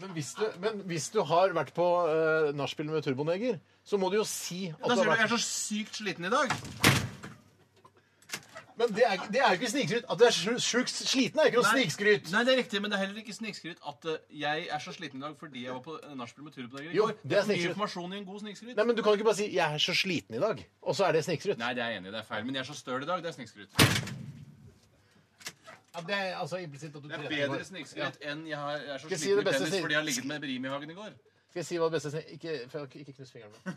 men, hvis, du, men hvis du har vært på uh, nachspiel med Turboneger, så må du jo si at Da du sier du har jeg vært er så sykt sliten i dag. Men det er, det er jo ikke snikskryt. At du er sju- sjukt sliten, er ikke noe Nei. snikskryt. Nei, det er riktig, men det er heller ikke snikskryt at eh, jeg er så sliten i dag fordi jeg var på eh, nachspiel med Turup-dager i Jo, går. det Det er er for mye snikskryt. informasjon i en god snikskryt. Nei, men Du kan ikke bare si 'jeg er så sliten i dag', og så er det snikskryt. Nei, det er jeg enig i. Det er feil. Men jeg er så støl i dag. Det er snikskryt. Ja, det er altså implisitt at du Det er trente i går. bedre snikskryt enn jeg, har, jeg er så Skal jeg si det sliten i beste penis snik- fordi jeg har ligget med Brimi i hagen i går. Skal jeg si hva det beste snik... Ikke, for- ikke knus fingeren min.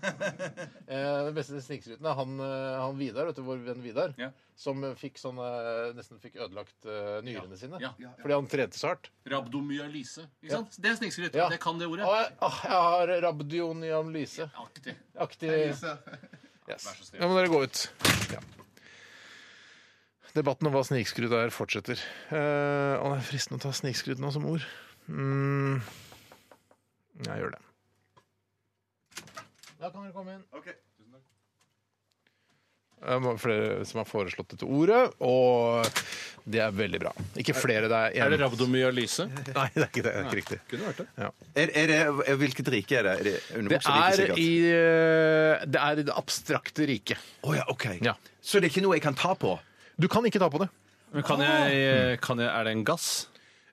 Eh, Den beste snikskruten er han, eh, han Vidar, vet du, vår venn Vidar, Ja. som eh, fikk sånn, eh, nesten fikk ødelagt eh, nyrene sine Ja. fordi han trente så hardt. Rabdomyalyse. Ikke sant? Det er snikskryt. Ja. Det kan det ordet. Å, jeg, åh, jeg har rabdioniamlyse-aktig Aktig. yes. så snill. Nå må dere gå ut. Ja. Debatten om hva snikskrut er, fortsetter. Eh, Å, det er fristende å ta snikskrut nå som ord. Mm. Jeg gjør det. Da kan dere komme inn. eh, flere som har foreslått dette ordet, og det er veldig bra. Ikke flere, det er én. Er det rabdomyalyse? Nei, det er ikke det. Det er ikke riktig. Kunne vært det. Er, er det, er, hvilket rike er det? Er det Det underbukserike, er, sikkert? i, eh, det er i det abstrakte riket. Å ja, ok. Ja. Så det er ikke noe jeg kan ta på? Du kan ikke ta på det. Men kan jeg, kan jeg, er det en gass?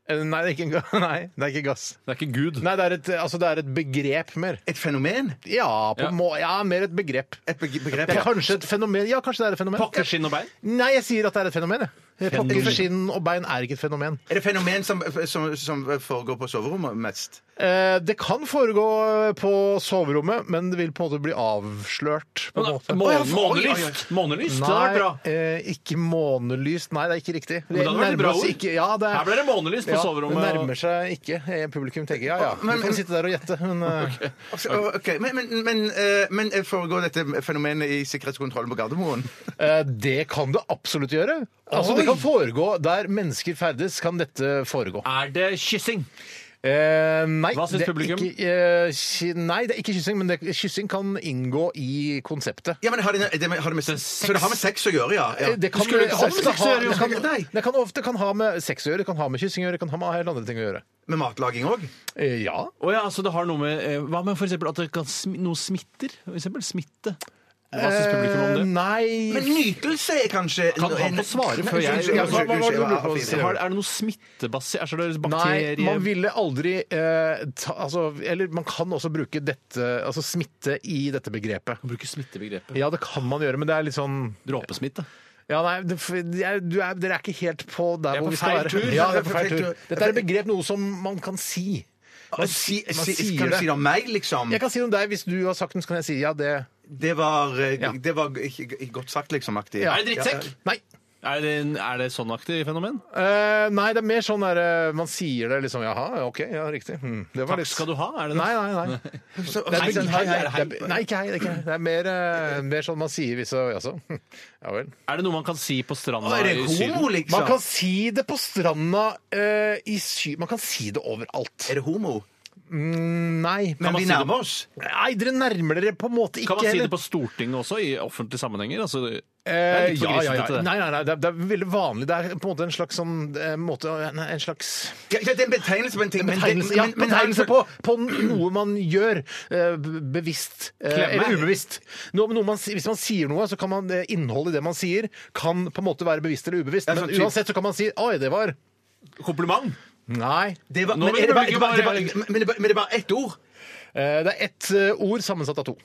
Eh, Nei, det er ikke, en ga- nei, det er ikke gass. Det er ikke Gud. Nei, det er, et, altså, det er et begrep mer. Et fenomen? Ja, på Ja. Må, ja, mer et begrep. Et beg- begrep? Det er kanskje et fenomen. Ja, kanskje det er et fenomen. Pokker, skinn og bein? Nei, jeg sier at det er et fenomen. jeg. Pokker, Fenomen. skinn og bein er ikke et fenomen. Er det fenomen som, som, som foregår på soverommet mest? Eh, Det kan foregå eh, på soverommet, men det vil på en måte bli avslørt. På en måte. Måne- Månelyst! Månelyst, det hadde vært bra. Nei, eh, ikke månelyst. Nei, det er ikke riktig. Men det hadde vært et nærmer bra oss ord. Ikke, ja, det er, Her ble det månelyst på ja, soverommet. Det nærmer seg ikke. Eh, Publikum tenker ja, ja. Men- Vi kan sitte der og gjette. Men, eh, Altså, å, ok, Men, men, men, eh, men foregår dette fenomenet i sikkerhetskontrollen på Gardermoen? eh, det kan det absolutt gjøre. Altså, Det kan foregå der mennesker ferdes, kan dette foregå. Er det kyssing? Eh, nei, Ah. Hva syns det er publikum? Ikke, eh, ki- nei, det er ikke kyssing, men det, kyssing kan inngå i konseptet. Ja, men har det, det, har det med, Så det har med sex å gjøre, ja? ja. Eh, Det kan, Skulle ikke ofte sex å ha- gjøre, det jo. kan, Nei. det kan ofte kan ha med sex å gjøre, det kan ha med kyssing å gjøre, det kan ha med helt andre ting å gjøre. Med matlaging òg? Eh, Ja. Å ja, så det har noe med eh, Hva med for eksempel at det kan smi, noe smitter? For eksempel smitte. Hva syns publikum om Eh, det? Nei Men nytelse er kanskje Kan han få svare før jeg Unnskyld, Ja, hva- hva var det unnskyld, du unnskyld, lurte på? ja, fint, ja. Har- Er det noe smittebasert? Altså, det er Nei, bakterie... man ville aldri eh, ta, altså, Eller man kan også bruke dette, altså smitte i dette begrepet. Man bruker smittebegrepet. Ja, det kan man gjøre, men det er litt sånn Dråpesmitte. Ja, nei, det, det er, du er, Dere er ikke helt på der er hvor på vi skal feil være. tur. Ja, det er på feil tur. Dette er et begrep, noe som man kan si. Man, Ah, Si, man si, sier kan du si det det. om meg, liksom? Jeg kan si det om deg. Hvis du har sagt noe, så kan jeg si ja, det Det var, eh, Ja. det var ikke- ikke godt sagt, liksom, aktig. Ja. Er det drittsekk? Nei. Er det, en- er det sånnaktig fenomen? Eh, nei, det er mer sånn der eh, man sier det liksom Jaha, ja, OK, ja, riktig. Hm, det var Takk litt- skal du ha, er det det? Nei, nei, nei. Det Så- er Nei, begre- sånn, hei, hei, hei. det er- Nei, ikke hei. Det er, ikke hei. Det er mer, eh, mer sånn man sier hvis og jaså. Hm, Ja vel. Er det noe man kan si på stranda Å, Er det i Syden? homo, liksom? Man kan si det på stranda eh, i sy... Man kan si det overalt. Er det homo? Nei. Men vi si det- nærmer oss. Nei, dere nærmer dere på en måte ikke Kan man si det på Stortinget også, i offentlige sammenhenger? Altså, det er Eh, litt for ja, ja, grisete, ja. det. Nei, nei, nei, det er, det er veldig vanlig. Det er på en måte en slags sånn eh, måte å- nei, En slags Ja, ja, det er en betegnelse på en ting. men det- betegnelse, ja, men- men- betegnelse på, på noe man gjør eh, be- bevisst eh, Klemme. eller ubevisst. Noe, noe man, si- hvis man sier noe, så kan man eh, innholdet i det man sier, kan på en måte være bevisst eller ubevisst. Ja, sånn Men typ- uansett så kan man si 'oi, det var Kompliment! Nei. Det var, Nå men, vil er det bare, du det bruke var, det var, bare- men, det var, men det var ett ord? Eh, det er ett eh, ord sammensatt av to.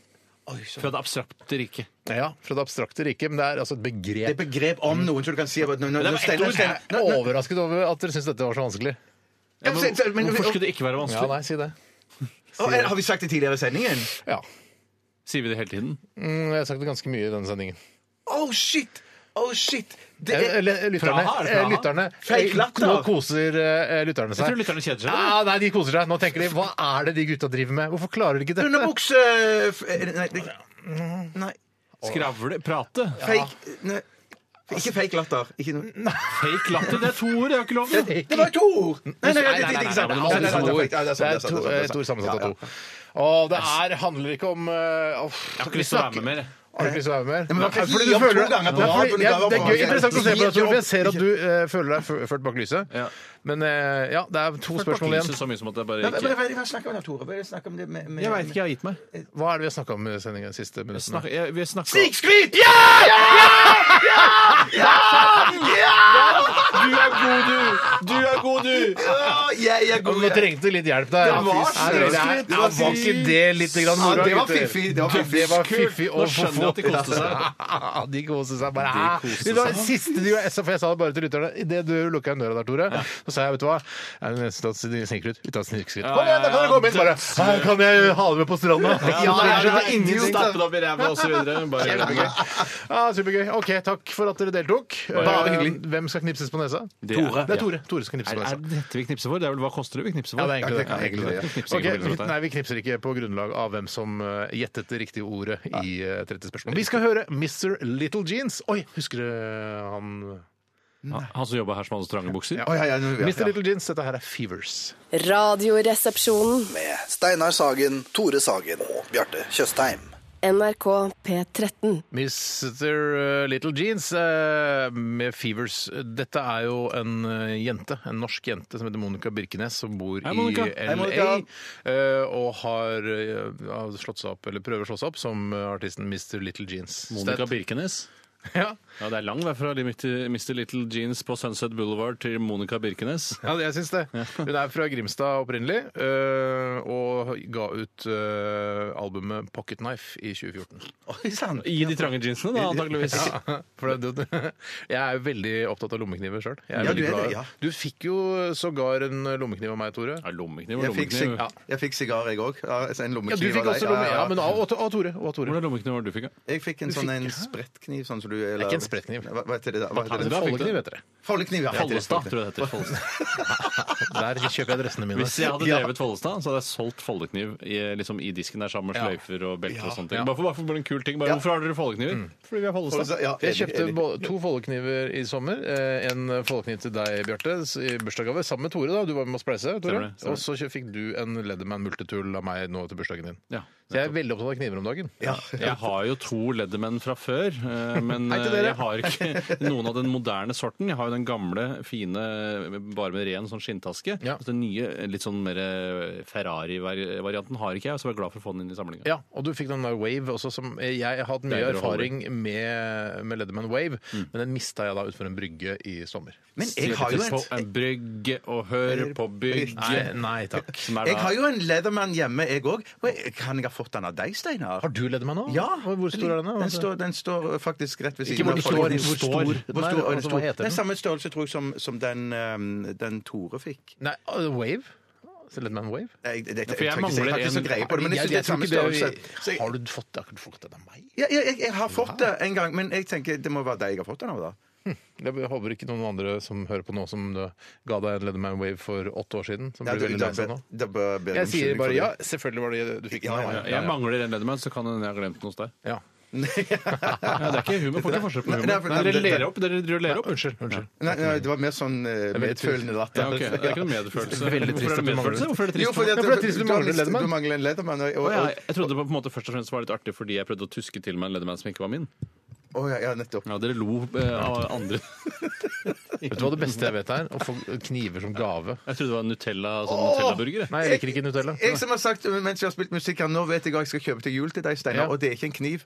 Fra det abstrakte riket. Ja, Fra det abstrakte riket, men det er altså et begrep. Det er et begrep om noen, så du kan si at når- når- Mm. når var ett Steinar- ord. Steinar- Jeg er overrasket over at dere syns dette var så vanskelig. Ja, men- Men, men- hvorfor skulle det ikke være Ja, vanskelig? nei, si det. Å, er- Har vi sagt det tidligere i sendingen? Ja. Sier vi det hele tiden? Mm, Jeg har sagt det ganske mye i denne sendingen. Oh shit! Oh shit! Det Eh, er, le- Lytterne, Praha, er det eh, Praha? lytterne Feil latter. Nå koser eh, lytterne seg. Jeg tror lytterne kjeder seg, Ja, nei, de koser seg. Nå tenker de hva er det de gutta driver med? Hvorfor klarer de ikke dette? underbukse... f- er det- Nei, det, nei Skravle? Prate? fake nei, Ikke fake latter. Ikke noe. Fake latter? Det er to ord, jeg har ikke lov til det. Det var jo to ord! Nei, Nei, nei, nei, nei, det det nei, er ikke nei, sant. men Nei, det nei, er nei, to- nei, nei, det er Det sant, er det er sant, det er sant, to- det er et ord sant. sammensatt Ja, av ja. to. Og det er, handler ikke om Jeg Jeg har ikke lyst til å være med mer. jeg. Har du ikke lyst til å være med mer? men man kan Nei, fordi gi du opp føler- to ganger Nei, på rad, fordi- og du ja, kan være Det er på gøy, rad. interessant å se på deg, Tor. for Jeg Gi ser at du eh, føler deg fø- ført bak lyset. Ja. Men eh, ja, det er to spørsmål Lyset igjen. Så mye som at jeg bare Nei, ikke... men- men- Hva snakker vi om, da, Tore? Hva er det vi snakker om det med, med Jeg veit ikke, jeg har gitt meg. Hva er det vi har snakka om i sendingen de siste minuttene? Snak, jeg, vi snakka Snikskryt! Du er god, du! Du er god, du! Ja, jeg er Ja, god. men Du trengte litt hjelp der. Det var Ja, det- det er- snikskryt, det var Ja, var ikke det litt grann moro? Ja, det var gutter? fiffig, det var Ja, Det var fiffig. fiffig Kult. og Nå skjønner jeg at de koste seg. De koste seg bare. De koste Det var det seg. siste de gjorde, for jeg sa det bare til lytterne. Idet du lukka igjen døra der, Tore, så sa jeg, vet du hva, er det nesten at de sniker ut? Uten snikskritt. Kom igjen, da kan dere komme inn, bare. «Her Kan jeg ha det med på stranda? Ja, nei, jeg skjønner nei, ingenting. stappe det opp i ræva og så videre. Bare- Ja, supergøy. OK, takk for at dere deltok. Bare Eh, hyggelig. Hvem skal knipses på nesa? Det er- Det er Tore. Tore skal knipses Er, på nesa. er det dette vi knipser for? Det er vel hva koster det vi knipser for? Ja, det er egentlig det. Ja, det er egentlig det, ja. Knipser Ok, ikke på bildet, vi- nei, vi knipser ikke på grunnlag av hvem som eh, gjettet det riktige ordet i eh, 30 spørsmål. Vi skal høre Mr. Little Jeans. Vet du. Oi, husker du eh, han Han han som jobba her som hadde trange bukser? Å, ja, ja, nå- ja, Mr. ja. Little Jeans, dette her er Fevers. Radioresepsjonen. Med Steinar Sagen, Tore Sagen og Bjarte Tjøstheim. NRK P13. Mr. Little Jeans eh, med Fevers. Dette er jo en eh, jente, en norsk jente som heter Monica Birkenes, som bor Hei, Monica. i Hei, LA. Monica. eh, Og har eh, har slått seg opp, eller prøver å slå seg opp, som eh, artisten Mr. Little Jeans. Monica Sted. Birkenes. Ja. Ja, Det er lang vei fra Mr. Little Jeans på Sunset Boulevard til Monica Birkenes. Ja, jeg syns det. Hun er fra Grimstad opprinnelig, eh, og ga ut eh, albumet Pocket Knife i 2014. Oi sann! I de trange jeansene, da, antakeligvis. Ja, for det, det, jeg er jo veldig opptatt av lommekniver sjøl. Ja, du er det, ja. Du fikk jo sågar en lommekniv av meg, Tore. Ja, lommekniv og Jeg fikk, sig lommekniv. ja. jeg fikk sigar, jeg òg. Ja, altså en Ja, du lommekniv fikk av deg. også lomme... Ja, Ja, ja. men av, av, av Tore. Og av Tore. Hvordan lommekniv var det du fikk? da? Jeg fikk en sånn en fikk- sprettkniv, sånn som du eller- ikke en sprettkniv. Hva, hva heter det da? Hva heter Da fikk det? du- Foldekniv heter det. Foldekniv, ja. heter det. Follestad, tror jeg det heter. Follestad. Der kjøper jeg dressene mine. Hvis jeg hadde drevet Follestad, så hadde jeg solgt foldekniv i, liksom, i disken der sammen med Ja. sløyfer og belter og sånne Ja. ting. Bare for, bare for bare en kul ting. Bare, Ja. Hvorfor har dere foldekniver? Fordi vi er Follestad. Foldestad, ja. Jeg kjøpte Enig, enig. både- to foldekniver i sommer. eh, En foldekniv til deg, Bjarte, s- i bursdagsgave. Sammen med Tore, da. Du var med å spleise. Tore. Stemmer det, stemmer det. Og så kjø- fikk du en Leatherman multitool av meg nå til bursdagen din. Ja. Så jeg er veldig opptatt av kniver om dagen. Jeg har jo to Leatherman fra før, eh, men Hei til eh, dere. jeg har ikke noen av den moderne sorten. Jeg har jo den gamle, fine, bare med ren sånn skinntaske. Ja. Så Den nye, litt sånn mer eh, Ferrari-varianten har ikke jeg, så jeg er glad for å få den inn i samlinga. Ja, og du fikk den der Wave også, som jeg har hatt mye Bedre å holde. erfaring med, med Leatherman Wave, men den mista jeg da utfor en brygge i sommer. Men jeg har jo På en, en brygge og hør på bygge. Nei, nei takk. Som er jeg har da jo en Leatherman hjemme, jeg òg. Kan jeg ha fått den av deg, Steinar? Har du Leatherman nå? Ja. Hvor stor er den? da? Den står, den står faktisk rett ved Ikke siden hvor den står, av folken. hvor stor Hvor den er, stor- altså, den hva står. heter Det den? er samme størrelse, tror jeg, som, som den, ehm, den Tore fikk. Nei, uh, Wave? Så Leatherman Wave? Nei, det, det, Ja, for jeg tør ikke si, mangler har ikke så en- greie på det, men jeg, synes det er tror samme ikke det- størrelse. Så jeg, Har du fått det? Har ikke du fått den av meg? ja, ja, jeg, jeg har fått det en gang, men jeg tenker det må være deg jeg har fått den av, da. Jeg håper ikke noen andre som hører på nå, som uh, ga deg en Leatherman Wave for åtte år siden, som Ja, blir du- veldig da lei seg bør- nå. da bør- Jeg bør unnskyldning sier for bare det. ja, selvfølgelig var det det du fikk den Ja, av ja, meg. jeg mangler en Leatherman, så kan hende jeg har glemt den hos deg. Ja. Ja, det er ikke humor. Får ikke forskjell på Nei, nei, humor. for- Nei, dere det- ler opp. Dere driver og ler opp. Unnskyld. Nei, nei, det var mer sånn eh, medfølende latter. Ja, ok. Det er ikke noe medfølelse. Veldig trist Hvorfor er at du mangler den. det medfølelse? Hvorfor er det Jo, trist? fordi at, Ja, for det er trist, du har mangler en mistet- Leatherman. Du mangler en Leatherman. Og, og, Å, og, ja, jeg trodde det var på en måte først og fremst var litt artig fordi jeg prøvde å tuske til meg en Leatherman som ikke var min. å, ja, ja, nettopp. Ja, dere lo eh, av andre. Vet du hva det beste jeg vet er? Å få kniver som gave. Jeg trodde det var Nutella, sånn Nutella-burger. jeg. Nei, jeg liker ikke Nutella. Jeg som har sagt eh, mens vi har spilt musikk her, nå vet jeg hva jeg skal kjøpe til jul til deg, Steinar, Ja. og det er ikke en kniv.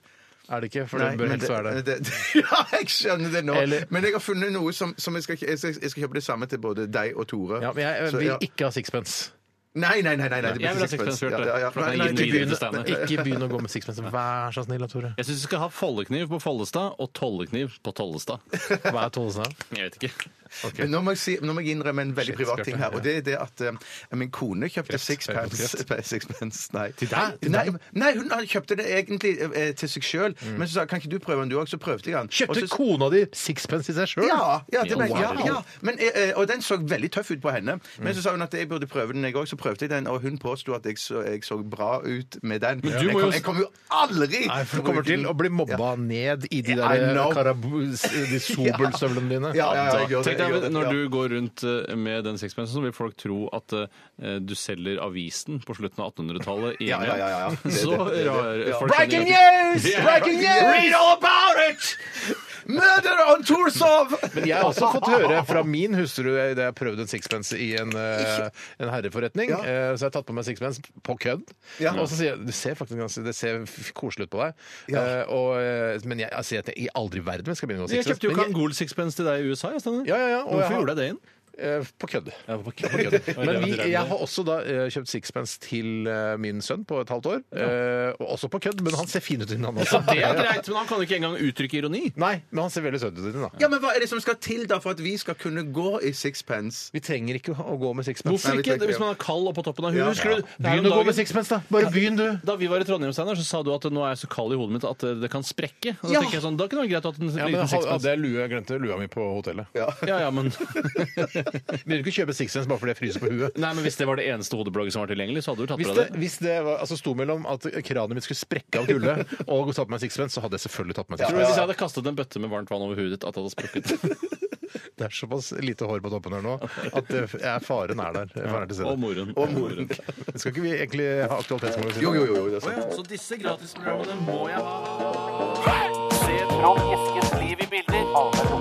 Er det ikke? For Nei, det bør men helst være det. Ja, jeg skjønner det nå. Eller- men jeg har funnet noe som, som jeg, skal, jeg, skal, jeg skal kjøpe det samme til både deg og Tore. Ja, men jeg Så, vil ja. ikke ha sixpence. Nei, nei, nei. nei, nei det blir Jeg vil ha ikke sixpence, Bjarte. Ja, ja, ja. For at Nei, jeg nei, gir den ikke videre begynn. til Steinar. Ikke begynn å gå med sixpence. Vær så snill, da, Tore. Jeg syns du skal ha foldekniv på Follestad og tollekniv på Tollestad. Hva er Tollesen av? Jeg vet ikke. Men nå må, jeg si, nå må jeg innrømme en veldig Shit, privat Bjarte. ting her. Og det er det at eh, min kone kjøpte Kreft. sixpence Kreft. eh, sixpence, nei. Til deg? Til Nei, deg? Mm. nei, hun han kjøpte det egentlig eh, til seg sjøl, men så sa jeg, kan ikke du prøve den du òg? Så prøvde jeg den. Kjøpte Og så- kona di sixpence i seg sjøl? Ja, ja, det ble, ja, Wow. Mm. ja. Men, eh, eh, og den så veldig tøff ut på henne. Men så sa hun at jeg burde prøve den, jeg òg. Så prøvde jeg den, og hun påsto at jeg så, jeg så bra ut med den. du jeg, må jo- kom, jeg kom jo aldri Nei, for du til å kommer bruke til den. å bli mobba ned i de I der know. karabus, de sobelstøvlene dine. Ja, ja, ja, jeg gjør det, Tenk jeg gjør deg, det, Når ja. du går rundt eh, med den sixpencen, så vil folk tro at eh, du selger avisen på slutten av 1800-tallet i Ja, ja, ja, ja. England. Det- Så det- det- det- rar ja. folk skjønner Breaking ikke- news! Breaking news! Read all about it! Murder on Torsov! Men jeg har også fått høre fra min hustru eh, da jeg prøvde en sixpence i en, eh, en herreforretning. Ja. eh, Så jeg har tatt på meg sixpence på kødd. Ja. Og så sier jeg du ser faktisk ganske, det ser f- koselig ut på deg. Ja. Eh, Og, eh, men jeg, jeg sier at jeg i aldri i verden skal begynne med Jeg sixpence. kjøpte jo Men jeg- Kangol sixpence til deg i USA. Jeg, Steinar. Ja, ja, ja, og jeg Hvorfor har- gjorde jeg det inn? eh, På kødd. på kødd. Men vi, jeg har også da eh, kjøpt sixpence til eh, min sønn på et halvt år. eh, Og også på kødd, men han ser fin ut innen han også. Det er greit, men han kan ikke engang uttrykke ironi. Nei, men han ser veldig søt ut i den, da. Ja, men Hva er det som skal til da for at vi skal kunne gå i sixpence? Vi trenger ikke å gå med sixpence. Hvorfor Nei, vi ikke? trenger- Hvis man er kald og på toppen av huet. Ja. Husker du? det er Begynn å jo gå dagen- med sixpence, da. Bare begynn, du. Da vi var i Trondheim, Steinar, så sa du at nå er jeg så kald i hodet mitt at eh, det kan sprekke. Og da Ja. tenker jeg sånn, da kunne det vært greit å ha Ja, men en altså- liten sixpence. hadde jeg lue, jeg glemte lua mi på hotellet. Ja. Ja, ja, men... Begynner ikke å kjøpe sixpence bare fordi jeg fryser på huet. Nei, men Hvis det var det eneste hodeplagget som var tilgjengelig, så hadde du tatt Hvis fra det, det. hvis det var, altså sto mellom at kranet mitt skulle sprekke av kulde og tatt på meg sixpence, så hadde jeg selvfølgelig tatt på meg Tror du sixpence. Hvis jeg hadde kastet en bøtte med varmt vann over hudet ditt, at det hadde sprukket? Det er såpass lite hår på toppen her nå at det er faren er der. Faren er til stede. Og moren. Og moren. Skal ikke vi egentlig ha aktualitetsmorgen? Jo, jo, jo. jo det er sant. Så disse gratisprogrammene må jeg ha.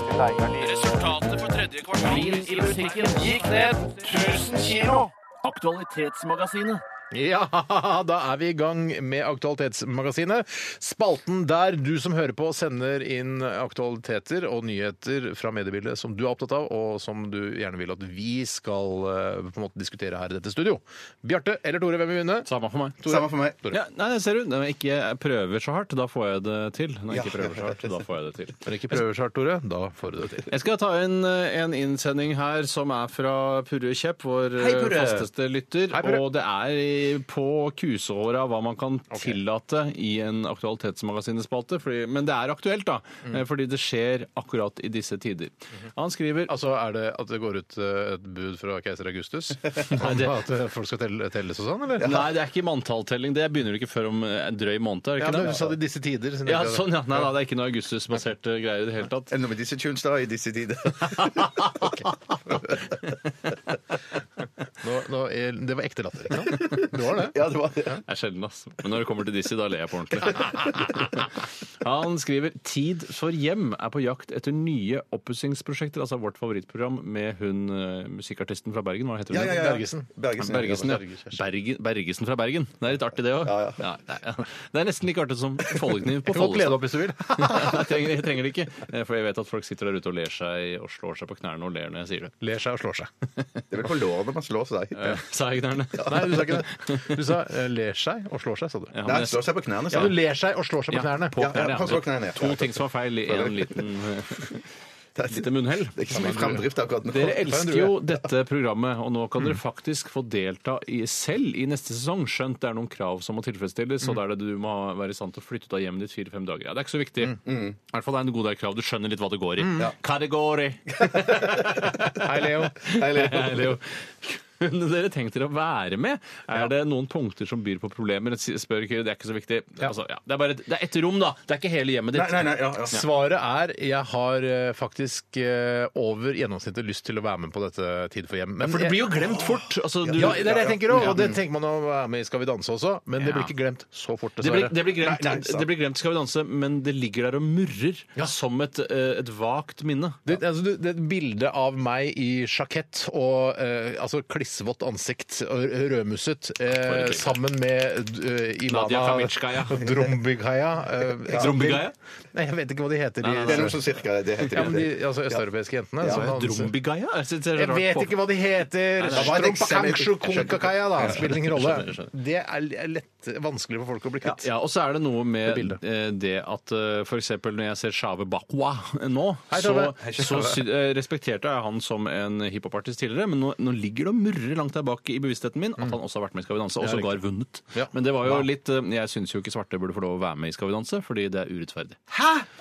Resultatet for tredje kvartal i musikken gikk ned 1000 kilo. Aktualitetsmagasinet. Ja, da er vi i gang med Aktualitetsmagasinet. Spalten der du som hører på sender inn aktualiteter og nyheter fra mediebildet som du er opptatt av, og som du gjerne vil at vi skal eh, på en måte diskutere her i dette studio. Bjarte eller Tore, hvem vil vinne? Samme for meg. Tore. Samme for meg. Ja, nei, det ser du. Når jeg ikke prøver så hardt, da får jeg det til. Når jeg ikke prøver så hardt, da får jeg det til. Når du ikke prøver så hardt, Tore, da får du det til. Jeg skal ta inn eh, en innsending her som er fra Purre Kjepp, vår eh, fasteste lytter. Hei, Purre. og det er i- på kusehåra hva man kan tillate i en aktualitetsmagasinespalte. Fordi, men det er aktuelt, da. Mm. eh, Fordi det skjer akkurat i disse tider. Han skriver Altså, er det at det går ut eh, et bud fra keiser Augustus? Om det- at eh, folk skal telle, telles og sånn, eller? Nei, det er ikke manntalltelling. Det begynner ikke før om eh, en drøy måned. Er det Ja, ikke men det? du sa det i disse tider. så det- Ja, sånn, ja. Nei, nei, det er ikke noe augustusbaserte greier i det hele tatt. Er det noe med disse tunes da, i disse tider? Nå, nå, er- det var ekte latter, ikke sant? Det var det. Ja, det var det. Det er sjelden, ass. Men når det kommer til disse, da ler jeg på ordentlig. Han skriver 'Tid for hjem' er på jakt etter nye oppussingsprosjekter. Altså vårt favorittprogram med hun eh, musikkartisten fra Bergen, hva heter hun? Ja, ja, ja. Bergesen. Bergesen, ja. Bergesen, ja. Bergen, Bergesen fra Bergen. Det er litt artig, det òg. Ja, ja. Det er nesten like artig som Follekniv på Du kan godt Follestad. lede opp hvis du vil. Nei, jeg trenger, jeg trenger det ikke, Eh, for jeg vet at folk sitter der ute og ler seg og slår seg på knærne og ler når jeg sier det. Ler seg og slår seg. Det er vel på lårene man slår seg. Eh, Sa jeg knærne? Nei, du sa ikke det. Du sa eh, ler seg og slår seg, sa du. Ja, Nei, men- slår seg på knærne. Ja, sa du han. ler seg og slår seg på knærne. På knærne, ja, på knærne, ja. To ting som er feil i en liten eh, Det lite munnhell. er ikke så mye framdrift akkurat nå. Dere elsker jo dette programmet, og nå kan dere faktisk få delta i, selv i neste sesong, skjønt det er noen krav som må tilfredsstilles, og da er det du må ha- være i stand til å flytte ut av hjemmet ditt fire-fem dager. Ja, det er ikke så viktig. I hvert fall det er en god del krav. Du skjønner litt hva det går i. Kategori! Hei, Leo. Hei, Leo. Hei, Leo. Kunne dere tenkt dere å være med? Er det noen punkter som byr på problemer? Spør ikke, det er ikke så viktig. Altså, ja, det er bare det er ett rom, da. Det er ikke hele hjemmet ditt. Nei, nei, nei, ja, ja. Svaret er jeg har eh, faktisk eh, over gjennomsnittet lyst til å være med på dette Tid for hjem. Men For det jeg- blir jo glemt fort. Altså, du, ja, det er det jeg tenker òg, Ja. og det tenker man å være med i Skal vi danse også, men det blir Ja. ikke glemt så fort, Det blir, dessverre. det, blir glemt, det blir glemt Skal vi danse, men det ligger der og murrer som et, eh, et vagt minne. Det, altså, du- det er et bilde av meg i sjakett og eh, altså, klissvått ansikt, og r- rødmusset, eh, bilde. sammen med eh, Nadia Ivana Kamitsjkaja. Drombigaya. Eh, Drombigaya? Nei, jeg vet ikke hva de heter. De, Det er noe som cirka det ja, heter. men de altså, østeuropeiske jentene. som danser. Drombigaya? Jeg synes det er jeg rart vet på- ikke hva de heter. det var et Strumpa eksempel. kangsju kunkakaya, da. Spiller ingen rolle. skjønner, skjønner. Det er lett, vanskelig for folk å bli kvitt. Ja, Og så er det noe med Det bildet. eh, det at eh, for eksempel når jeg ser Shave Bakwa nå, Hei, så, Tove. så sy eh, respekterte jeg han som en hiphopartist tidligere, men nå, nå ligger det og murrer langt der bak i bevisstheten min at han også har vært med i Skal vi danse, og sågar vunnet. Mm. Ja. Men det var jo Wow. litt eh, Jeg syns jo ikke svarte burde få lov å være med i Skal vi danse, fordi det er urettferdig.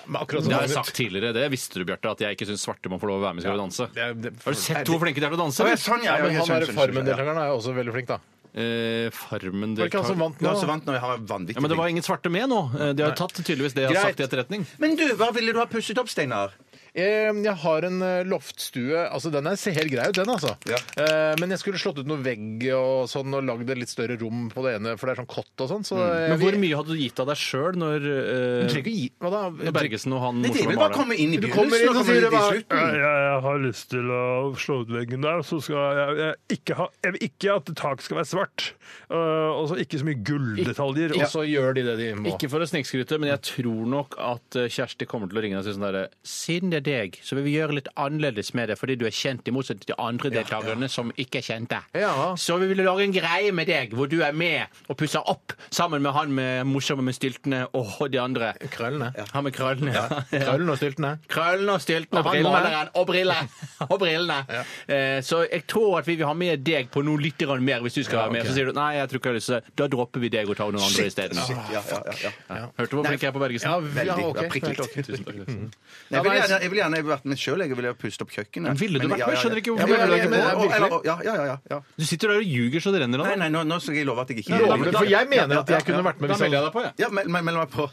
Men akkurat som Det har jeg Magnus- sagt tidligere, det visste du, Bjarte, at jeg ikke syns svarte må få lov å være med i Skal vi danse. Det er- det- Har du sett hvor flinke de er til å danse? Å, ja, sånn, Ja, ja, ja, men ja, han der skjønner, skjønner, skjønner, Farmen-deltakeren er jo også veldig flink, da. Eh, farmen Var det ikke han som vant Ja, nå? så vant når jeg har vanvittig Ja, men det var ingen svarte med nå. Eh, De har jo tatt tydeligvis det jeg har Greit. sagt i etterretning. Men du, hva ville du ha pusset opp, Steinar? Eh, Jeg har en eh, loftstue. Altså, den er, ser helt grei ut, den, altså. Ja. Eh, Men jeg skulle slått ut noe vegg og sånn, og lagd et litt større rom på det ene, for det er sånn kott og sånn. Så eh, Men hvor vi- mye hadde du gitt av deg sjøl når, Du eh, trenger ikke gi Hva da? når Bergesen og han Det er vel morsomme bare å maleren komme inn i Du kommer inn begynnelsen og og sier komme det ut i bare- slutten. jeg, jeg har lyst til å slå ut veggen der, så skal jeg, jeg ikke ha Jeg vil ikke at tak skal være svart. øh, og så ikke så mye gulldetaljer. Og så gjør de det de må. Ikke for å snikskryte, men jeg tror nok at eh, Kjersti kommer til å ringe deg og si sånn derre Siden det er deg, så vil vi gjøre litt annerledes med det, fordi du er kjent i motsetning til de andre deltakerne som ikke er kjente. Ja. Så vi vil lage en greie med deg, hvor du er med og pusser opp sammen med han med morsomme med styltene og de andre. Krøllene. Han med krøllene. Ja. Krøllene og styltene. Krøllene og styltene, Og han brillene. maleren og brillene. Og brillene. Eh, så jeg tror at vi vil ha med deg på noe litt grann mer hvis du skal Ja, være med. ok. Så sier du nei, jeg tror ikke jeg har lyst til det. Da dropper vi deg og tar noen andre isteden. Shit, ja, ja, ja, ja. Hørte du hvor flink jeg er på sånn? Bergesen? Ja, vi- ja, Veldig. ok. Ja, prikk litt. Helt ok. Jeg vil gjerne, jeg vil gjerne vært med sjøl. Jeg ville pustet opp kjøkkenet. Men ville du vært med? Skjønner ikke hvorfor Ja, men- ville du ikke men- vært med? og- eller- og- Ja, ja, ja, ja. Du sitter der og ljuger så det renner Nei, av. nei, nå, nå skal jeg love at jeg ikke Lover du? For jeg mener at jeg kunne vært med hvis jeg deg på, jeg. Ja, meld meld meg på.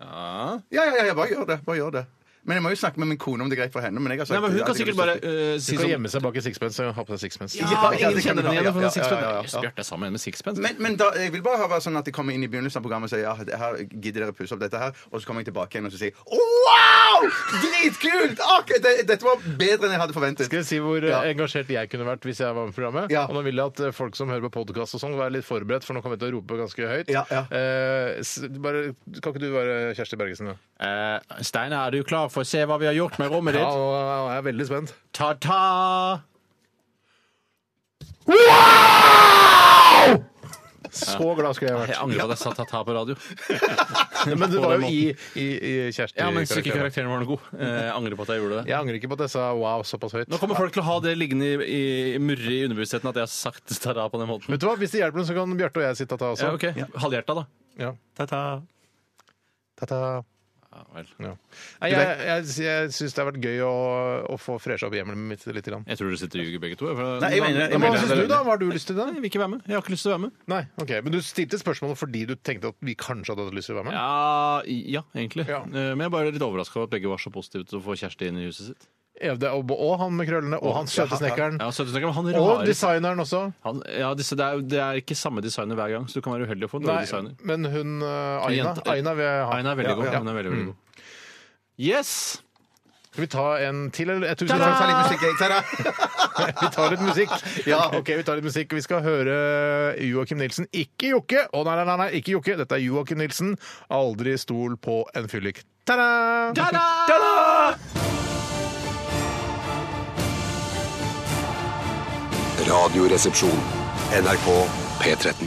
Ja, ja, ja, bare gjør det. Bare gjør det. Men jeg må jo snakke med min kone om det er greit for henne. Men jeg har sagt Nei, men Hun at kan jeg sikkert vil bare støtte- eh, si Du kan sånn gjemme seg bak en sixpence og ha på deg sixpence. ja, Ja, ja, ingen det kan kjenner du- den igjen. ja, for ja, en sixpence. ja, ja, ja. Jøss, Bjarte er sammen med sixpence. Men, men da, jeg vil bare ha være sånn at de kommer inn i begynnelsen av programmet og sier ja, det her gidder dere pusse opp dette her, og så kommer jeg tilbake igjen og så sier wow! Dritkult! Ak, det, dette var bedre enn jeg hadde forventet. Skal jeg si hvor eh, Ja. engasjert jeg kunne vært hvis jeg var med i programmet? Ja. Og nå vil jeg at eh, folk som hører på podkast og sånn, være litt forberedt, for nå kommer jeg til å rope ganske høyt. Ja, ja. Eh, s- bare, kan ikke du være Kjersti Bergesen, da? Eh, Steinar, er du klar for å se hva vi har gjort med rommet Ja, ditt? nå er jeg veldig spent. Ta-ta! Så glad skulle jeg vært. Jeg angrer på at jeg sa ta-ta på radio. Men du var jo i, i, i Kjersti. Ja, men syke karakteren. karakteren var noe god. Eh, Jeg angrer på at jeg gjorde det. Jeg angrer ikke på at jeg sa wow såpass høyt. Nå kommer folk til å ha det liggende i, i, i murre i underbevisstheten at jeg har sagt ta-ta på den måten. Vet du hva, Hvis det hjelper noen, så kan Bjarte og jeg si ta-ta også. Ja, ok. Halvhjerta, da. Ja. Ta-ta. Ta-ta. Ja, vel. Ja. Nei, jeg jeg, jeg syns det har vært gøy å, å få fresha opp hjemmet mitt litt. Grann. Jeg tror dere sitter og ljuger begge to. For... Nei, jeg mener det, jeg Ja, men mener hva det. syns du, da? Hva har du lyst til? da? Nei, Jeg vil ikke være med. Jeg har ikke lyst til å være med. Nei, ok. Men du stilte spørsmålet fordi du tenkte at vi kanskje hadde hatt lyst til å være med? Ja, ja egentlig. Ja. Eh, Men jeg er bare litt overraska over at begge var så positive til å få Kjersti inn i huset sitt. Ja, det, og, og han med krøllene, og han søte snekkeren. Ja, så, men han Og rare designeren også. han, ja, disse, det, er, jo- det er ikke samme designer hver gang, så du kan være uheldig å få en dårlig designer. men hun eh, En Aina jente. Aina vil jeg ha. Aina er veldig god. Ja. Hun er veldig, veldig god. Yes! Skal vi ta en til, eller? Jeg tror vi Vi tar- tar, tar litt musikk, jeg. Ta-da! vi tar litt musikk. Ja, ok, Vi tar litt musikk. Vi skal høre eh, Joakim Nilsen. Ikke Jokke! Å nei, nei, nei, nei, ikke Jokke. Dette er Joakim Nilsen. Aldri stol på en fyllik. Ta-da! Radioresepsjon. NRK P13.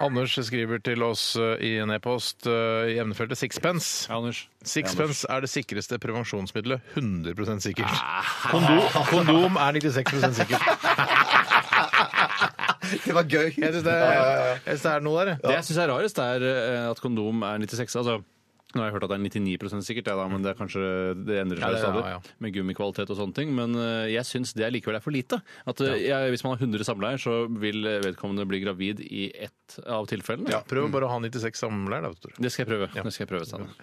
Anders skriver til oss eh, i en e-post eh, i emnefeltet sixpence. Ja, Anders. Sixpence er det sikreste prevensjonsmiddelet. 100 sikkert. Kondom, kondom er 96 sikkert. Det var gøy. Jeg syns det, er- jeg synes det er noe der. jeg. Det jeg syns er rarest, er eh, at kondom er 96. Altså, nå har jeg hørt at det er 99 sikkert, ja, da, men det er kanskje det endrer Ja, seg det- stadig. ja, ja. Med gummikvalitet og sånne ting. Men eh, jeg syns det likevel er for lite. At eh, jeg, Hvis man har 100 samleier, så vil vedkommende bli gravid i ett av tilfellene. Ja, prøv bare å ha 96 samler, da. Tor. Det skal jeg prøve. Det skal jeg prøve Steinar.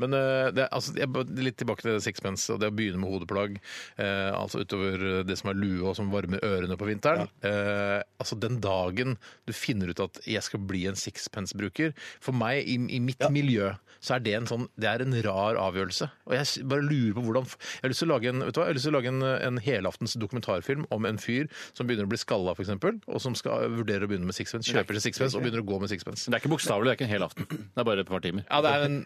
Men eh, det, er- altså, jeg, bare- litt tilbake til sixpence og det å begynne med hodeplagg. eh, altså utover det som er lue og som varmer ørene på vinteren. Eh, altså den dagen du finner ut at jeg skal bli en sixpence-bruker For meg, i, i mitt miljø, så er det en sånn Det er en rar avgjørelse. Og jeg s- bare lurer på hvordan f- Jeg har lyst til å lage en, vet du hva? Jeg har lyst til å lage en, en helaftens dokumentarfilm om en fyr som begynner å bli skalla, f.eks., og som skal vurdere å begynne med sixpence. Kjøper seg sixpence og begynner å gå med sixpence. Det er ikke bokstavelig, det er ikke en hel aften. Det er bare et par timer. Ja, det er en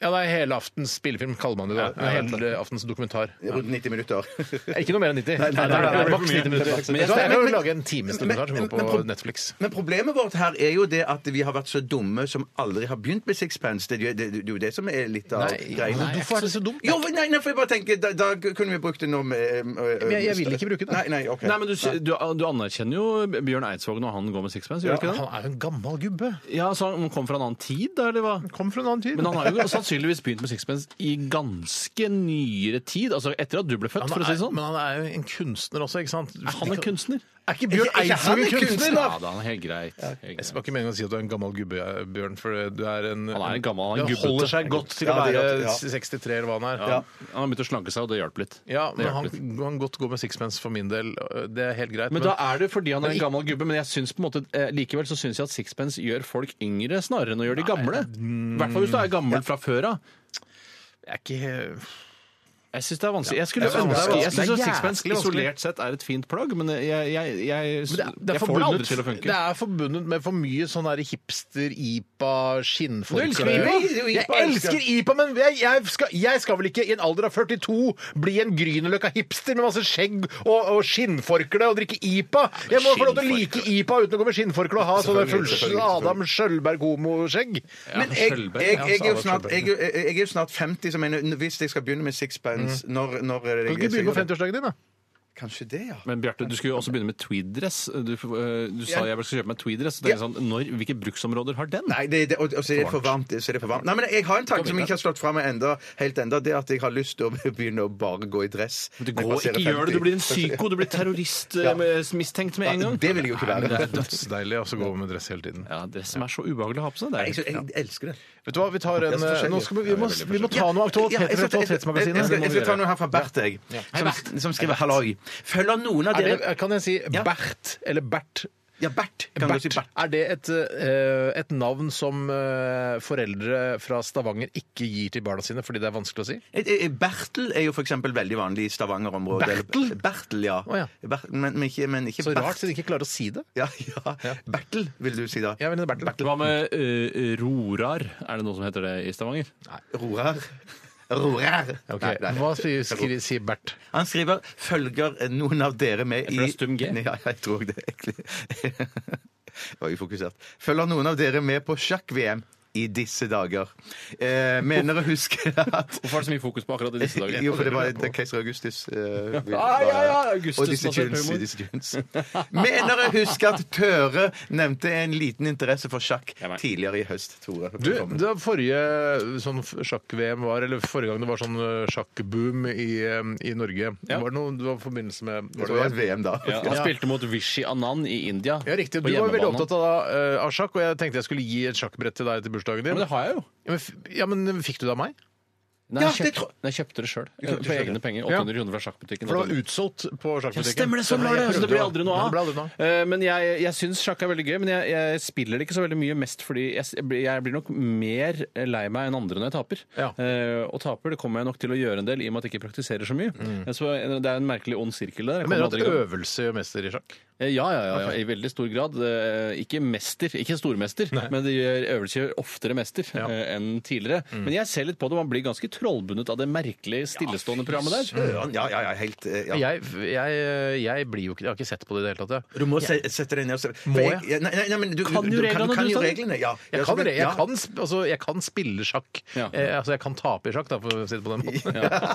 ja, det er helaftens spillefilm, kaller man det. da. Helaftens dokumentar. Rundt 90 minutter. Ikke noe mer enn 90. Nei, nei, nei, nei. Maks 90 minutter. Men- Men jeg skal jo men- lage en times dokumentar som men- går men- på men- Netflix. Men problemet vårt her er jo det at vi har vært så dumme som aldri har begynt med sixpence. Det er jo- det, det, det er jo det som er litt av Nei, greia. nei, hvorfor er det så dumt? Jo, nei, nei, for jeg bare tenker, da, da kunne vi brukt det nå med eh, eh, Men jeg- jeg vil ikke bruke det. Nei, nei, ok. Nei, men du, du, du anerkjenner jo Bjørn Eidsvåg når han går med sixpence, gjør du ikke Han det? er jo en gammel gubbe. Ja, så Han kom fra en annen tid, da, eller hva? Kom fra en annen tid. Men han har jo sannsynligvis begynt med sixpence i ganske nyere tid. Altså etter at du ble født, Han for å si er, det sånn. men han er jo en kunstner også, ikke sant? Er han en kunstner? Er ikke Bjørn Er ikke han Eidsvåg en en kunstner? kunstner, da? Ja, da, han er helt greit. Helt Jeg greit. var ikke meningen å si at du er en gammel gubbe, Bjørn. For du er en, Han er en gammel, han er en gubbete. holder seg godt til å Ja, det være gjør det, ja. 63 eller hva han er. Ja. Han har begynt å slanke seg, og det hjalp litt. Ja, Det men hjelper han kan godt gå med sixpence for min del. Det er helt greit. Men da er det fordi han er Men en ikke- gammel gubbe, men jeg synes på en måte, eh, likevel så syns jeg at sixpence gjør folk yngre snarere enn å gjøre de gamle. I hvert fall hvis du er gammel fra før av. mm. jeg er ikke Jeg syns det er vanskelig. Jeg skulle Jeg synes det er ønske vanskelig. Jeg Det syns er sixpence jævlig vanskelig. isolert sett er et fint plagg, men jeg, jeg, jeg, Men det, det, er jeg får det forbundet, aldri til å det funke. er forbundet med for mye sånn der hipster, IPA, skinnfolk Du elsker IPA? Nei, det er jo Jeg IPA, elsker elsker IPA, men jeg, jeg, skal, jeg skal vel ikke i en alder av 42 bli en Grünerløkka hipster med masse skjegg og, og skinnforkle og drikke IPA? Jeg må få lov til å like IPA uten å gå med skinnforkle og ha sånne Selvfølgelig, full selvfølgelig, Adam Skjølberg-homoskjegg. Men jeg, Skjølberg, jeg, ja, jeg, er jo Sara snart, Skjølberg. jeg, er jo- jeg er jo Mm. snart 50, så jeg mener, hvis jeg skal begynne med sixpence når, når Kan du ikke begynne på 50-årsdagen din, da? Kanskje det, ja. Men Bjarte, du skulle jo også begynne med tweeddress. Du, eh, du sa jeg vel skulle kjøpe meg tweeddress. Så tenker jeg Sånn, når, hvilke bruksområder har den? Nei, det, det, og, og så er det for varmt. Så er det for varmt. Nei, men jeg har en tanke som jeg ikke har slått fra meg enda, helt enda, det er at jeg har lyst til å begynne å bare gå i dress. Det når jeg går, passerer ikke gjør det! 50. Du blir en psyko, du blir terrorist eh, med- mistenkt med en Ja, gang. det vil jeg jo ikke Nei, men være. det er døds- Deilig å gå med dress hele tiden. Ja, det som er så ubehagelig å ha på seg. Det Jeg, er, jeg, jeg elsker det. Vet du hva, vi tar en så forskjellig. eh, Nå skal vi, vi, må, vi må ta noe av Ja, jeg skal- jeg- jeg- jeg- Jeg skal- jeg skal ta aktualitetsmagasinet. noe her fra Bert, jeg. Som, som skriver 'halloi'. Følger noen av Er det, dere kan jeg si Ja. Bert eller Bert? Ja, Bert. Kan du si Bert. Bert? Er det et, eh, et navn som eh, foreldre fra Stavanger ikke gir til barna sine fordi det er vanskelig å si? Eh, eh, Bertel er jo for eksempel veldig vanlig i Stavanger-området. Bertel? Bertel, ja. Å, ja. Bert, men, men ikke, men ikke Så Bert. rart, så de ikke klarer å si det. Ja, ja. Bertel, vil du si da. Jeg mener Bertel. hva med eh, rorar? Er det noe som heter det i Stavanger? Rorar. Rorar. Ok, Nei, nei. Hva sier, skriver, sier Bert? Han skriver 'følger noen av dere med i Jeg tror det er stum G. Ja, jeg tror det, egentlig. Oi, fokusert. 'Følger noen av dere med på sjakk-VM i disse dager'. Eh, mener å huske at Hvorfor er det så mye fokus på akkurat i disse dager? Jo, for det var det er Keiser Augustus. eh, vi- Ah, ja, ja, Augustus og disse basert på tunes. humor. Disse tunes. Mener å huske at Tøre nevnte en liten interesse for sjakk Ja, nei. tidligere i høst, Tore. Du, da forrige sånn sjakk-VM var, eller forrige gang det var sånn eh, sjakkboom i, eh, i Norge, var det noe det var i forbindelse med det var et VM da. Ja, han spilte mot Vishy Anand i India. Ja, riktig. på Du var jo veldig hjemmebane. opptatt av, eh, av sjakk, og jeg tenkte jeg skulle gi et sjakkbrett til deg til bursdagen Ja, din. Men det har jeg jo. Ja, men, f- ja, men fikk du det av meg? Nei, Ja, jeg, det kjøpte, tror- nei, jeg kjøpte det sjøl. På egne penger. 800 kroner fra sjakkbutikken. For det var utsolgt på sjakkbutikken. Stemmer det, sånn var det! Jeg Så det prøvde blir å- aldri noe Ja, av. det ble aldri noe av. Eh, Men jeg, jeg syns sjakk er veldig gøy, men jeg, jeg spiller det ikke så veldig mye mest fordi jeg, s- jeg blir- jeg blir nok mer lei meg enn andre når jeg taper. Ja. Eh, og taper det kommer jeg nok til å gjøre en del i og med at jeg ikke praktiserer så mye. Så det er en merkelig ond sirkel der. Jeg Mm. Jeg mener kommer aldri i at gang. øvelse gjør mester i sjakk. Eh, Ja, ja, ja, ja, i veldig stor grad. Eh, Ikke mester, ikke stormester, men det gjør øvelser gjør oftere mester eh, enn tidligere. Mm. Men jeg ser litt på det, man blir ganske trollbundet av det merkelige stillestående programmet der. Søren, Ja, ja, ja, helt eh, ja. Jeg, jeg, jeg blir jo ikke Jeg har ikke sett på det i det hele tatt. jeg. Du må se, sette deg ned og se. for Må jeg? Nei, nei, nei, men du, Kan du, jo du, reglene, kan, kan du jo sa det. reglene. Ja. Jeg Ja, kan, så- det. ja. jeg kan, sp- altså, jeg kan spille sjakk. Ja. Eh, altså, jeg kan tape i sjakk, da, for å si det på den måten.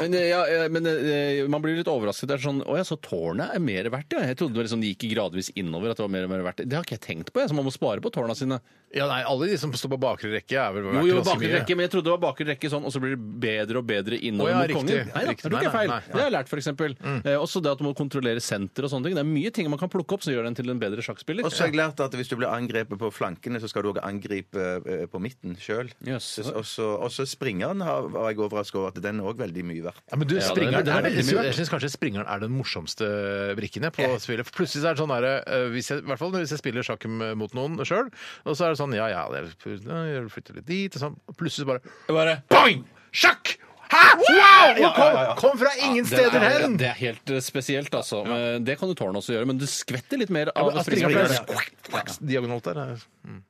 Men, eh, ja, eh, men eh, man blir litt overrasket. Det er sånn, Å ja, så tårnet er mer verdt, ja. Jeg trodde det var liksom, de gikk gradvis innover at det var mer og mer verdt. Det har ikke jeg tenkt på, jeg. Så man må spare på tårna sine. Ja, nei, alle de som står på bakre rekke, er vel Jo, verdt jo, ganske bakre mye. rekke, men jeg trodde det var bakre rekke sånn, og så blir det bedre og bedre innover Å, ja, mot riktig, kongen. Nei da, riktig. det tok jeg Nei, feil. nei, Mm. nei. Det har jeg lært, f.eks. Eh, også det at du må kontrollere senter og sånne ting. Det er mye ting man kan plukke opp som gjør en til en bedre sjakkspiller. Og så har jeg lært at hvis du blir angrepet på flankene, så skal du også angripe eh, på midten sjøl. Jøss. Og så og så springeren har, var jeg overraska over at den er òg veldig mye verdt. Ja, men du, Ja, det er- springeren, det er er, veldig mye verdt. jeg syns kanskje springeren er den morsomste brikken jeg på spillet. For plutselig så er det sånn derre eh, hvis jeg- I hvert fall hvis jeg spiller sjakk m- mot noen sjøl, og så er det sånn Ja, ja, jeg flytter litt dit, og sånn. og Plutselig så bare Bare- Boing! Sjakk! Hæ? Wow! Det kom, kom fra ingen steder det, er, hen! det er helt eh, spesielt, altså. Men Det kan jo tårnet også gjøre, men du skvetter litt mer av Ja, springeren. springeren ble diagonalt der. er-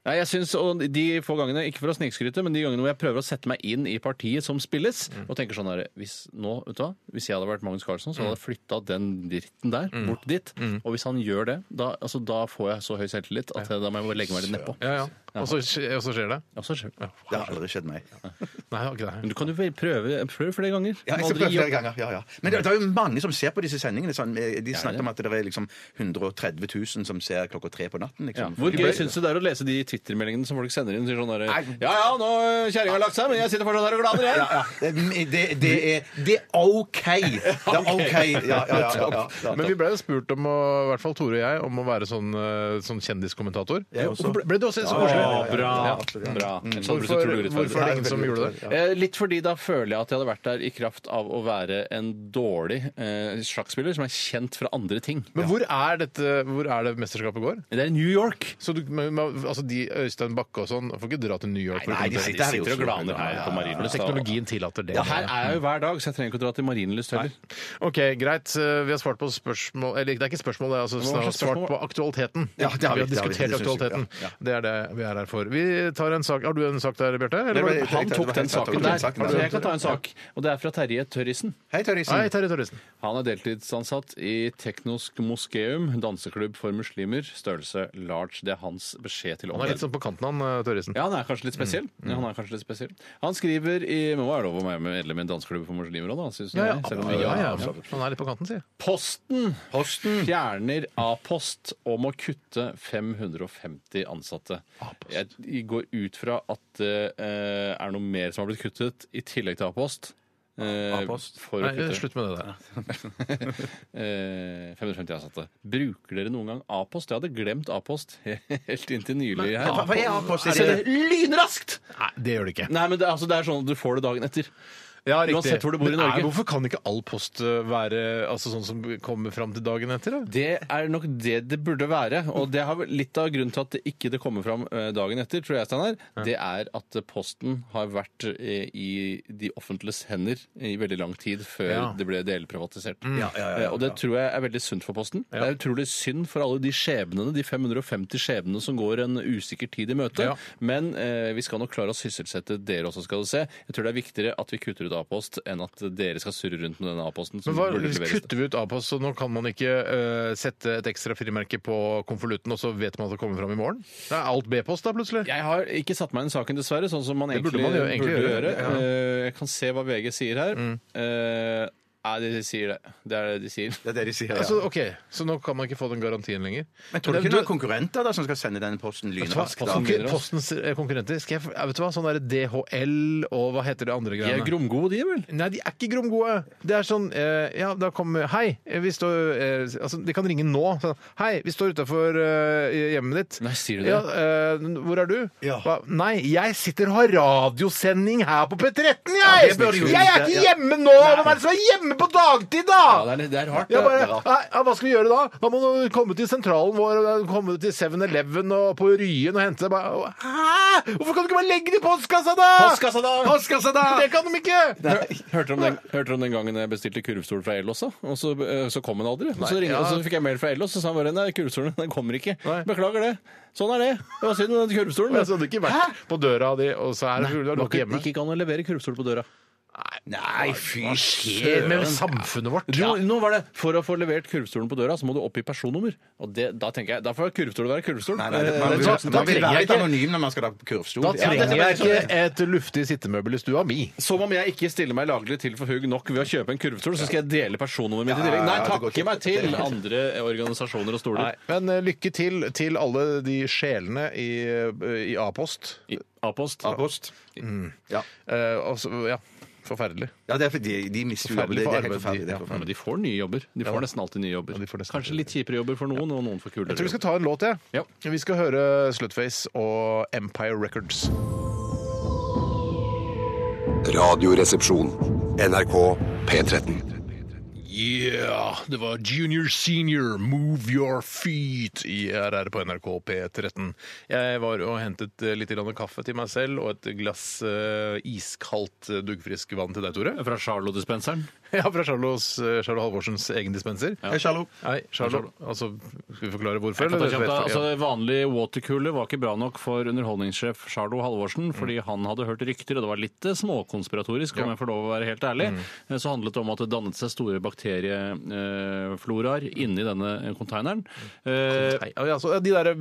Nei, jeg synes, og De få gangene, ikke for å snikskryte, men de gangene hvor jeg prøver å sette meg inn i partiet som spilles, Mm. og tenker sånn her hvis, nå, vet du hva, hvis jeg hadde vært Magnus Carlsen, Mm. så hadde jeg flytta den dritten der bort dit. Og hvis han gjør det, da, altså, da får jeg så høy selvtillit at eh, da må jeg bare legge meg litt nedpå. Ja, ja. Og så skje- og så skjer det? Ja, så skjer det. Det har aldri skjedd meg. Nei, det var ikke det. Men du kan jo vel prøve, prøve flere ganger. Ja, jeg skal Aldri prøve gi flere opp. ganger. Ja, ja. Men det, det er jo mange som ser på disse sendingene. Sånn, eh, de snakker om at det er liksom 130 000 som ser klokka tre på natten. Liksom. Hvor De gøy ble- syns du det er å lese de Twitter-meldingene som folk sender inn? Sier sånn der, ja ja, nå eh, kjerringa har lagt seg, men jeg sitter fortsatt her og glaner, jeg. ja, ja. Det, det, det, er, det er OK! Det er OK. Ja, ja, ja, ja, ja. Men vi ble jo spurt om, å, i hvert fall Tore og jeg, om å være sånn, eh, sånn kjendiskommentator. Jeg også. Ble, ble du også så koselig? bra. Ja. bra. Mm. Sånn Ellers hadde du Hvorfor, blitt utrolig urettferdig. hvorfor er det ingen som gjorde det? Eh, Litt fordi da føler jeg at jeg hadde vært der i kraft av å være en dårlig eh, sjakkspiller som er kjent fra andre ting. Men hvor er, dette, hvor er det mesterskapet går? Det er New York. Så du, men, men, altså de Øystein Bakke og sånn får ikke dra til New York? for å nei, de kommentere. sitter her i Oslo. på Men Marienlyst. da. Teknologien tillater det. Ja, her er jeg jo hver dag, så jeg trenger ikke å dra til Marienlyst heller. Ok, Greit. eh, Vi har svart på spørsmål Eller det er ikke spørsmål, det er altså Hva var snar- det svart spørsmål? på aktualiteten. Ja, det har vi vi, har det har vi, diskutert det synes jeg, aktualiteten. ja, Det er det vi er her for. Vi tar en sak. Har du en sak der, Bjarte? eller Det var var- det- Han tok den saken der. Saken Så jeg kan ta en sak. Og det er fra Terje Tørrisen. Hei, Tørrisen. Hei, Terje Torrisen. Han er deltidsansatt i Teknosk Moskeum, danseklubb for muslimer, størrelse large. Det er hans beskjed til Han er er litt Mm. sånn på kanten han, eh, Tørresen. Ja, han er kanskje litt spesiell. Ja, han er kanskje litt spesiell. Han skriver i Men hva er det lov å være medlem i en danseklubb for muslimer òg, da? Synes du det? Selv om- ja, ja, Han er litt på kanten, sier jeg. Posten, fjerner A-post og må kutte 550 ansatte. Jeg går ut fra at det eh, er noe mer som har blitt kuttet i tillegg til A-post. eh, A-post? For å Nei, kutte slutt med det der. eh, 550 ansatte. Bruker dere noen gang A-post? Jeg hadde glemt A-post helt inntil nylig. her. Hva hva er A-post? Så det er lynraskt! Nei, det gjør det ikke. Nei, men det, er- altså, det er sånn at du får det dagen etter. Ja, riktig. Uansett hvor du bor i Men er- Norge. hvorfor kan ikke all post eh, være altså, sånn som kommer fram til dagen etter? Da? Det er nok det det burde være. Og det har vel- litt av grunnen til at det ikke det kommer fram eh, dagen etter, tror jeg, Steinar, det er at Posten har vært eh, i de offentliges hender i veldig lang tid før Ja. Mm. det ble delprivatisert. Eh, Og det tror jeg er veldig sunt for Posten. Det er utrolig synd for alle de skjebnene, de 550 skjebnene som går en usikker tid i møte. Ja. Men eh, vi skal nok klare å sysselsette dere også, skal du se. Jeg tror det er viktigere at vi kutter ut A-post enn at dere skal surre rundt med denne A-posten. som Men hva, burde leveres. kutter vi ut A-post, så nå kan man ikke eh, sette et ekstra frimerke på konvolutten, og så vet man at det kommer fram i morgen? Det er alt B-post da, plutselig. Jeg har ikke satt meg inn i saken, dessverre. Sånn som man Det egentlig burde burde, man jo egentlig gjøre. gjøre, Mm. Eh, Jeg kan se hva VG sier her. Eh, Nei, de sier det. Det er det de sier. Det er det de sier, ja. Altså, ok, Så nå kan man ikke få den garantien lenger? Men tror du ikke det er konkurrenter da, som skal sende den posten lynraskt? da? Posten Konkur- vinner, altså. Postens eh, konkurrenter. Skal jeg, f- vet du hva, sånn derre DHL og hva heter det andre De er greiene? gromgode, de, vel? Nei, de er ikke gromgode. Det er sånn eh, Ja, da kommer Hei, vi står eh, Altså, de kan ringe nå. Sånn, Hei, vi står utafor hjemmet ditt. Nei, sier du det? Ja, eh, hvor er du? Ja. Hva? Nei, jeg sitter og har radiosending her på P13, jeg! det bør du jo jeg er vite, ikke ja. hjemme nå! Hvem er det som er hjemme på dagtid, da? Ja, det er, litt- det er rart. Ja, det. bare, Det er rart. nei, ja, hva skal vi gjøre da? Da må du komme til sentralen vår, og komme til 7-Eleven og på Ryen og hente bare, og- Hæ? Hvorfor kan du ikke bare legge det i postkassa, da? Postkassa da! Postkassa da! Det kan de ikke! Hørte om, den, hørte om den gangen jeg bestilte kurvstol fra Ellos, da? Og så, eh, så kom den aldri. Og så, Nei, ringte, ja. og så fikk jeg mail fra Ellos, og så sa han bare nei, kurvstolen den kommer ikke. Nei. Beklager det. Sånn er det. Det var synd om den kurvstolen. Men så hadde det ikke vært på døra di, og så er det fullt av Det var lokk ikke- hjemme. gikk ikke an å levere kurvstol på døra. Nei, fy Skjer med samfunnet vårt. Du, nå var det, For å få levert kurvstolen på døra, så må du oppgi personnummer. Og det, da tenker jeg, Da får kurvstol være kurvstol. Nei, nei, det- Eh, man, da- vil- da man vil trenger være jeg litt ikke- anonym når man skal ha kurvstol. Da Ja, trenger jeg det- ikke et luftig sittemøbel i stua mi. Eh, Som om jeg ikke stiller meg laglig til for hugg nok ved å kjøpe en kurvstol, så skal jeg dele personnummeret mitt i tillegg. Nei, ja, det går takke ikke. meg til andre organisasjoner og stoler. Men eh, lykke til til alle de sjelene i, eh, i A-post. I- A-post. Post. Eh, altså, ja, forferdelig. Ja, det er fordi de mister jo jobben. Det, det er helt forferdelig. Det er Ja, men forferdelig. de får nye jobber. De får nesten alltid nye jobber. Ja, de får nesten Kanskje alltid litt kjipere jobber for noen, og noen får kulere Jeg tror vi skal jobber. ta en låt, jeg. Ja. Vi skal høre Slutface og Empire Records. Radioresepsjon. NRK P13. Yeah! Det var Junior Senior, Move Your Feet i RR på NRK P13. Jeg var og hentet eh, litt grann kaffe til meg selv og et glass eh, iskaldt eh, duggfrisk vann til deg, Tore. Fra Charlo-dispenseren. Ja, fra Charlos, eh, Charlo Halvorsens egen dispenser. Hei, Charlo. Nei, Charlo. Altså, skal vi forklare hvorfor? Jeg kan ta eller? kjapt, da. Ja. Altså, vanlig watercooler var ikke bra nok for underholdningssjef Charlo Halvorsen, fordi han hadde hørt rykter, og det var litt eh, småkonspiratorisk, om jeg får lov å være helt ærlig. Eh, Så handlet det om at det dannet seg store bakteriefloraer inni denne containeren. Eh, Nei, altså, de der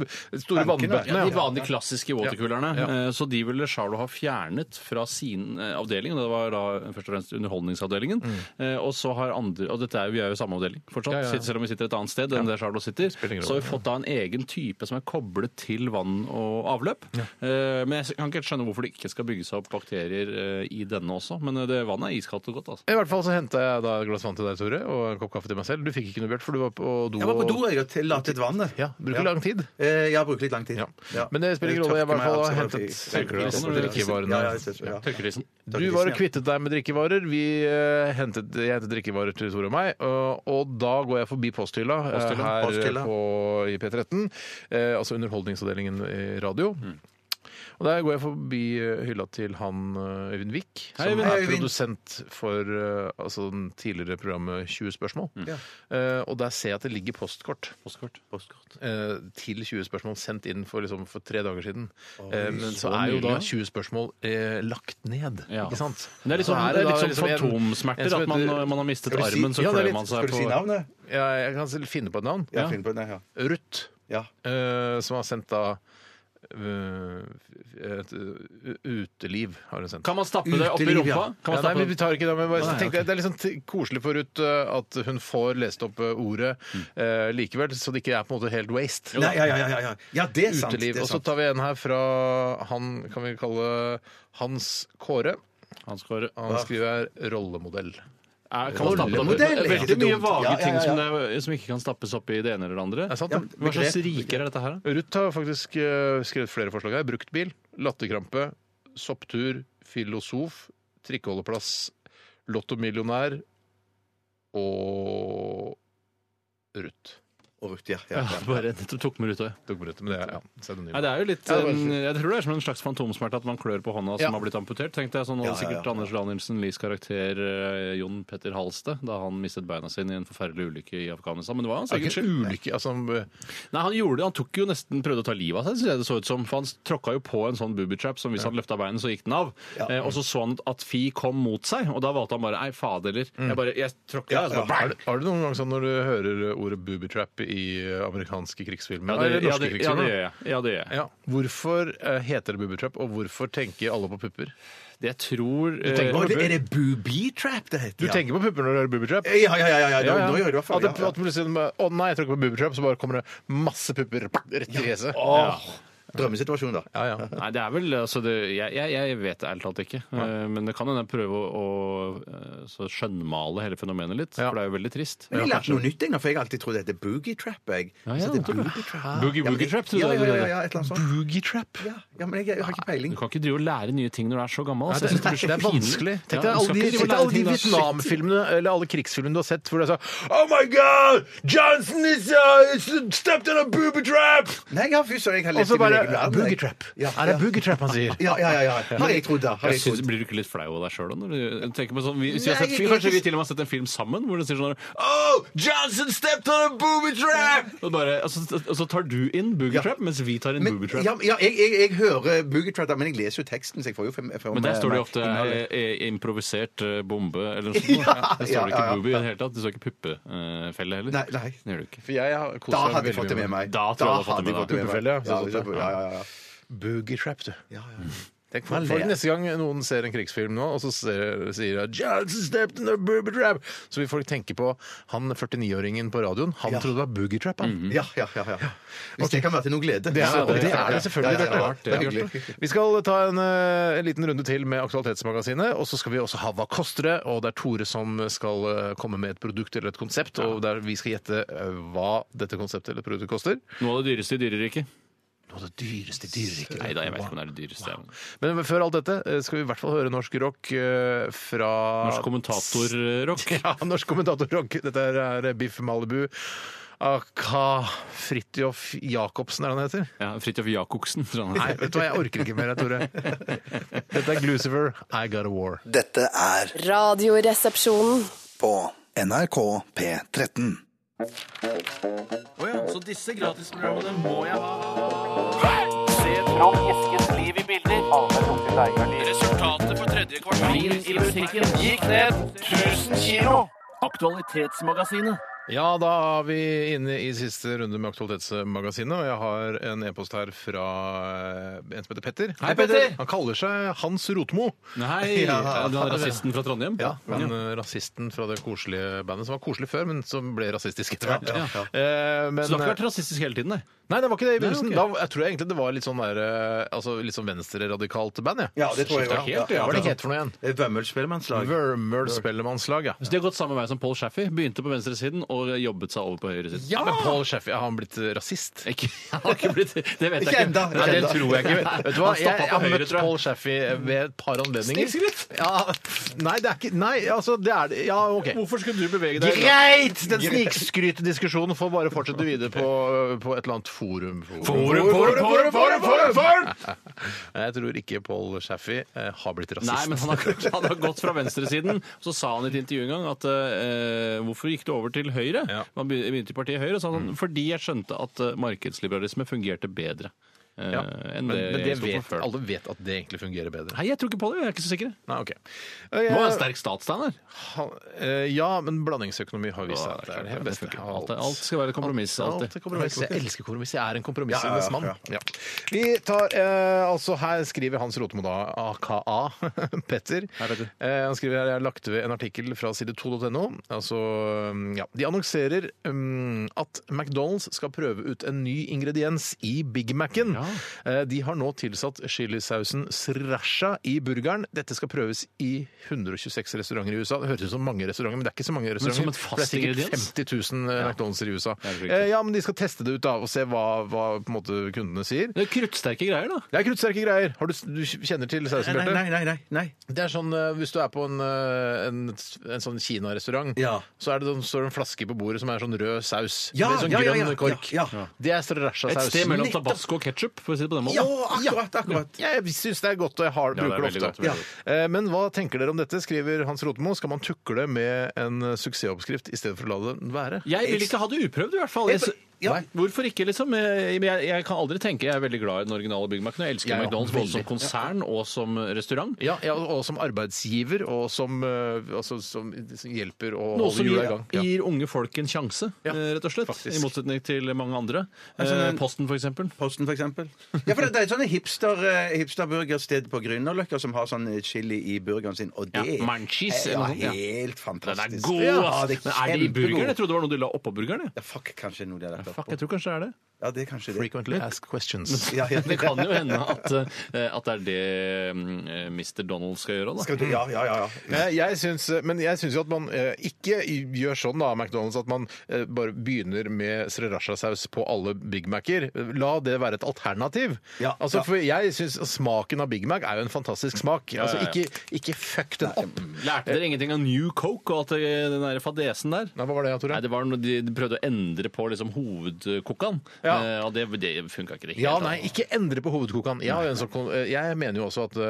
store vannbøttene. ja, de ja. vanlige klassiske watercoolerne. Eh, Så de ville Charlo ha fjernet fra sin eh, avdeling. og Det var da først og fremst underholdningsavdelingen. Eh, Og så har andre Og dette er jo, vi er jo i samme avdeling fortsatt, Mm. Ja, ja, ja. sitter- selv om vi sitter et annet sted enn der Charlo sitter. Så ingen har vi fått da en egen type som er koblet til vann og avløp. Eh, Men jeg kan ikke helt skjønne hvorfor det ikke skal bygge seg opp bakterier eh, i denne også. Men eh, det vannet er iskaldt og godt, altså. I hvert fall så henta jeg da et glass vann til deg, Tore, og en kopp kaffe til meg selv. Du fikk ikke noe, Bjørt, for du var på do. Jeg var og- på do, jeg, og latet vannet. Ja, Bruker lang tid. Eh, Ja, bruker litt lang tid. Ja. Ja. Men det spiller ingen rolle, jeg i hvert fall har hentet Tørker du deg også når du drikkevarene? Ja, ja, jeg ser- ja. Tørkekrisen. Du var og kvittet deg med drikkevarer. Vi eh, hentet, jeg hentet drikkevarer til Tore og meg. Og, og da går jeg forbi posthylla eh, Posthylla, her posthylla. På, i P13, eh, altså Underholdningsavdelingen i radio. Mm. Og der går jeg forbi eh, hylla til han eh, Øyvind Wiik, som Hei, Øyvind. er Hei, Øyvind. produsent for eh, altså, den tidligere programmet 20 spørsmål. Eh, og der ser jeg at det ligger postkort Postkort. eh, til 20 spørsmål sendt inn for, liksom, for tre dager siden. Eh, men så, er jo nylig, da ja. 20 spørsmål eh, lagt ned, Ja. ikke sant? Men det er litt Så sånn, det er da litt sånn liksom en- en fantomsmerter, som at man, eh, heter- man har mistet Skal vi si- armen, så Ja, det er klør litt- man Skal seg du på si navnet? ja, Jeg kan selv finne på et navn. Ja, finn på det. Ja. Ruth, Ja. eh, som har sendt da øh, et øh, uteliv, har hun sendt. Kan man stappe det opp i Uteliv, rumpa? ja. Kan man Ja, nei, stappe vi- vi tar ikke det, men bare, Nei, ok. tenkte jeg, det er litt sånn t- koselig forut uh, at hun får lest opp uh, ordet Mm. eh, likevel, så det ikke er på en måte helt waste. Nei, ja, ja, ja, ja, ja. ja, det er sant. det Uteliv. er Og så sant. tar vi en her fra han, kan vi kalle Hans Kåre. Hans Kåre. Han skriver her 'rollemodell'. Er, kan man stappe det opp? Rollemodell, Det er ikke Veldig mye dumt. vage Ja, ja, ting ja, som, det, som ikke kan stappes opp i det ene eller det andre. Er det sant? Ja, det? Hva slags begrep. riker er dette her? da? Ruth har faktisk eh, skrevet flere forslag her. Bruktbil, latterkrampe, sopptur, filosof, trikkeholdeplass, lottomillionær og Ruth. Og Ruth, ja, ja, Ja, ja. bare det tok med ruta. Tok med Ruth, men det er, ja, så er det Nei, ny. det er jo litt, Ja, det var eh, fint. jeg tror det er som en slags fantomsmerte at man klør på hånda Ja. som har blitt amputert. tenkte jeg sånn, og Ja, ja, ja. Sikkert Anders Danielsen Lies karakter eh, Jon Petter Halste da han mistet beina sine i en forferdelig ulykke i Afghanistan. Men det var hans Det er egen ikke skyld. en ulykke altså, eh, Nei, han gjorde det. Han tok jo nesten prøvde å ta livet av seg, synes jeg det så ut som. For han tråkka jo på en sånn booby trap som hvis han løfta beinet, så gikk den av. Eh, og så så han at Fi kom mot seg, og da valgte han bare Ei, fadeler. Jeg bare Jeg tråkka. Mm. Ja, og så ja. altså, bare, har, du- har du noen gang sånn når du hører ordet boobytrap i eh, amerikanske krigsfilmer? Ja, det, Eller ja, norske det, ja, det krigsfilmer? gjør jeg. Ja, det gjør jeg. Ja. Hvorfor eh, heter det boobytrap, og hvorfor tenker alle på pupper? Det jeg tror eh, tenker Å, det, er det booby trap det heter? Du ja? tenker på pupper når du hører boobytrap? Ja, ja, ja. ja, ja. Nå gjør jeg det i hvert fall. At det, Ja, ja. at plutselig, å nei, jeg tråkker på boobytrap, så bare kommer det masse pupper rett i fjeset. Åh. Drømmesituasjon, da. Ja, ja. Nei, det er vel altså det, jeg, jeg, jeg vet det ærlig talt ikke. Eh, Men det kan hende jeg prøver å, å eh, så skjønnmale hele fenomenet litt, Ja. for det er jo veldig trist. Men jeg lærte noe nytt, jeg, nå, for jeg har alltid trodd det heter boogie trap. Jeg. Ja, ja, Så det er det tror jeg. booby trap. Boogie Ja, men- Woogie Trap, tror ja, jeg ja, det ja, heter. ja, et eller annet sånt. Boogie trap. Ja, ja, men jeg, jeg har ikke peiling. Du kan ikke drive og lære nye ting når du er så gammel. Nei, altså. det, Jeg synes det, blir er så pinlig. vanskelig. Ja, Tenk deg du alle skal de, ikke tenk drive og deg lære alle de ting da. Vietnamfilmene eller alle krigsfilmene du har sett hvor det er sånn Oh my God! Johnson is uh, stepped on a booby trap! Nei, jeg har fy søren, jeg Og har levd så i min bare egen verden. Boogie jeg. trap. Ja, Er det boogie trap han sier? Ja, ja, ja. ja. Har jeg trodd, da. Har Jeg jeg synes, trodd. blir du ikke litt flau av deg sjøl når du tenker på sånn vi, hvis vi har Nei, sett, jeg- Kanskje vi til og med har sett en film sammen hvor det sier sånn Oh, Johnson stepped on a booby trap! og, bare, altså, og så tar du inn booby Ja. trap, mens vi tar inn Men, booby trap. ja, ja, jeg, jeg, jeg hører booby trap, da, men jeg leser jo teksten, så jeg får jo fem, Men der står det jo ofte eh, eh, improvisert eh, bombe eller noe sånt. Ja, der står det ja, ikke ja, ja. booby i det hele tatt. Du står ikke puppefelle heller. Nei, nei. Det gjør du ikke. For jeg har kost Da meg hadde jeg veldig fått det med mye meg. Da tror jeg du hadde fått det med deg. med Puppefelle, ja. Ja, det- ja, ja, Mhm. ja. Boogie trap, du. Ja, ja. Tenk for, for neste gang noen ser en krigsfilm nå, og så ser, sier at Johnson stepped on a booby trap, så vil folk tenke på han 49-åringen på radioen. Han Ja. trodde det var boogie trap, han. Ja, ja, ja, ja. Hvis det kan være til noe glede. Det så- er det, er det selvfølgelig. Ja, ja, ja. Bjarte. Det er Bjarte. hyggelig. Vi skal ta en, eh, en liten runde til med Aktualitetsmagasinet. Og så skal vi også ha Hva koster det? Og det er Tore som skal eh, komme med et produkt eller et konsept. Og der vi skal gjette eh, hva dette konseptet eller produktet koster. Noe av det dyreste i dyreriket. Noe av det dyreste i dyreriket. Nei da, jeg vet ikke om det er det dyreste. jeg- Men før alt dette eh, skal vi i hvert fall høre norsk rock eh, fra Norsk kommentatorrock. Ja, norsk kommentator rock. Dette her er Biff Malibu. Aka Fridtjof Jacobsen, er det han heter? Ja, Fridtjof Jacobsen. tror jeg han Nei, heter. vet du hva, jeg orker ikke mer, jeg, Tore. Dette er Glucifer, I Got a War. Dette er Radioresepsjonen. på NRK P13. Ja, da er vi inne i siste runde med Aktualitetsmagasinet, og jeg har en e-post her fra eh, en som heter Petter. Hei, Petter! Han kaller seg Hans Rotmo. Nei, er du han rasisten fra Trondheim? Ja, men eh, rasisten fra det koselige bandet som var koselig før, men som ble rasistisk etter hvert. Ja, Eh, men- eh, Så du har ikke vært rasistisk hele tiden, nei? Nei, det var ikke det i Nei, begynnelsen. ok. Da jeg tror jeg egentlig det var litt sånn, der, eh, altså, litt sånn venstreradikalt band. jeg. Ja, det tror jeg Skiftet ja. helt, ja. Hva er det het for noe igjen? Vømmøl spellemannslag. Wermøl Spellemannslag, ja. Så de har gått samme vei som Paul Shaffey. Begynte på venstresiden og jobbet seg over på høyresiden. Ja, men Paul Sheffy, har han blitt eh, rasist? Ikke, han har ikke blitt, det vet jeg Ikke ikke. enda, ikke Nei, det enda. tror jeg ikke. Vet du hva, Han jeg, stoppa jeg på har høyre, møtt tror jeg. Paul Shaffy ved et par anledninger. Snikskritt? Ja, nei, det er ikke Nei, altså, det er det Ja, OK. Hvorfor skulle du bevege deg? Greit! Den snikskrytdiskusjonen får bare fortsette videre på, eh, på et eller annet forum. Forum, forum, forum, forum, forum, Jeg tror ikke Paul Shaffy eh, har blitt rasist. Nei, men han har, han har gått fra venstresiden. Så sa han i et intervju en gang at eh, hvorfor gikk du over til høyre? Ja. sånn, Mm. Han begy- begynte i partiet Høyre, sa han. Fordi jeg skjønte at eh, markedsliberalisme fungerte bedre. eh, Ja. enn Men, det, men det jeg sto for vet, før. alle vet at det egentlig fungerer bedre. Nei, jeg tror ikke på det. Jeg er ikke så sikker. Nei, ok. Eh, Nå er jeg sterk statssteiner. Ha- eh, Ja, men blandingsøkonomi har vist seg at det er det beste. Alt, er- alt skal være et kompromiss. Alt- Alltid. alt er kompromiss. Jeg elsker kompromiss. Jeg er en Ja, kompromissenes ja, mann. ja, Ja. Vi tar, eh, altså Her skriver Hans Rotemo, da, aka Petter. Hei, Petter. Eh, han skriver her, Jeg har lagt ved en artikkel fra side2.no. Altså, ja. De annonserer um, at McDonald's skal prøve ut en ny ingrediens i Big Mac-en. Eh, de har nå tilsatt chilisausen sriracha i burgeren. Dette skal prøves i 126 restauranter i USA. Det høres ut som mange restauranter, men det er ikke så mange restauranter. som et fast for det er sikkert ingrediens? 50 000 eh, McDonald's i USA. Det er helt riktig. Eh, ja, men de skal teste det ut da, og se hva, hva på en måte, kundene sier. Det er Kruttsterke greier, da. Det er kruttsterke greier. Har du, du kjenner til sausen, Nei, Bjarte? nei, nei, nei, nei. Det er sånn eh, hvis du er på en, eh, en, en sånn Kina-restaurant, Ja. så er det, sånn- står det en flaske på bordet som er sånn rød saus. Ja, med sånn ja, ja, grønn ja, kork. ja, ja. Det er sriracha-saus. Et sted mellom Nettopp. tabasco og ketsjup, for å si det på den måten. Ja, akkurat, akkurat. Ja, jeg syns det er godt, og jeg har, Ja, det er bruker det, veldig godt, ofte. veldig Eh, Men hva tenker dere om dette, skriver Hans Rotemo. Skal man tukle med en eh, suksessoppskrift i stedet for å la den være? Jeg vil ikke ha det uprøvd, i hvert fall. Jeg, Nei, Hvorfor ikke, liksom? Jeg, jeg, jeg kan aldri tenke Jeg er veldig glad i den originale Big Mac. og Jeg elsker Jeg er McDonald's både som veldig- konsern og som restaurant. Ja, ja, og som arbeidsgiver, og som, eh, altså, som, som hjelper å Noe holde som hjula gir, i gang. Ja. gir unge folk en sjanse, Ja, eh, rett og slett. faktisk. I motsetning til mange andre. Altså, Eh, den- Posten, for eksempel. Posten, for eksempel. Ja, for det, det er et sånt hipster, eh, hipsterburgersted på Grünerløkka som har sånn chili i burgeren sin, og Ja, det Munchies, er eller noe ja, sånt, helt Den er fantastisk. god! Ja, ass. det Men er er det i burgeren? Jeg kjempegod. trodde det var noe du la oppå burgeren. jeg. Ja, fuck, kanskje noe de har lagt opp Jeg tror kanskje det er det. Ja, det er kanskje det. Frequently asked questions. Ja, ja. Det kan jo hende at, eh, at det er det eh, Mr. Donald skal gjøre. da. Skal du, ja, ja, ja. ja. Eh, Jeg syns, men jeg syns jo at man eh, ikke gjør sånn da, McDonald's, at man eh, bare begynner med sriracha-saus på alle Big Mac-er. La det være et alternativ. Ja, altså, ja. For jeg syns smaken av Big Mac er jo en fantastisk smak. Altså, ikke, ikke fuck den opp. Lærte dere ingenting av New Coke og alt det, den der fadesen der? Nei, hva var det, Tore? Nei, det var noe de, de prøvde å endre på liksom, hovedkokkan, Ja. Eh, og det, det funka ikke. i det Ja, hele nei, tatt. ikke endre på hovedkokene. Jeg, har jo en sånn, kon- jeg mener jo også at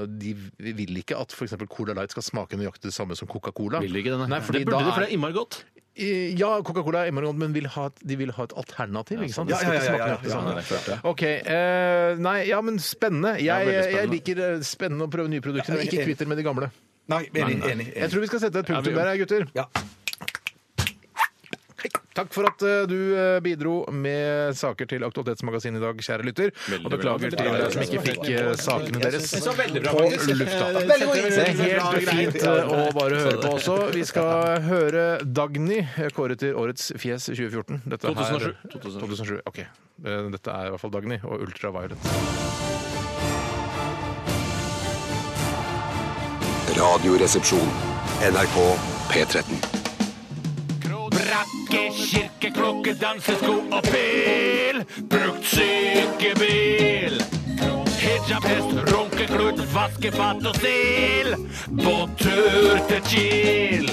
eh, de vil ikke at f.eks. Cola Light skal smake nøyaktig det samme som Coca-Cola. Vil de ikke denne? Nei, fordi det burde da de, for er- det er innmari godt. Eh, Ja, Coca-Cola er imorgon, men vil ha et, de vil ha et alternativ, ikke sant? Ja, ja, ja, ja, ja, Det skal ikke ja, smake ja, nøyaktig samme. OK. eh, nei, ja, men spennende. Jeg, veldig jeg spennende. liker eh, spennende å prøve nye produkter, men ikke kvitter med de gamle. Nei, enig, enig. Jeg enig. tror vi skal sette et vi punktum gjør der, gutter. Ja. Takk for at eh, du eh, bidro med saker til Aktualitetsmagasinet i dag, kjære lytter. Og beklager til dere som ikke fikk eh, sakene deres på lufta. Det er helt fint eh, å bare høre på også. Vi skal høre Dagny eh, kåret til Årets fjes i 2014. Dette her, 2007. 2007. Ok. Eh, Dette er i hvert fall Dagny og Ultraviolet. Radioresepsjon. NRK P13. Brakke, kirkeklokke, dansesko og pil. Brukt sykebil. Hijabhest, runkeklut, vaskefat og stil. På tur til Kiel.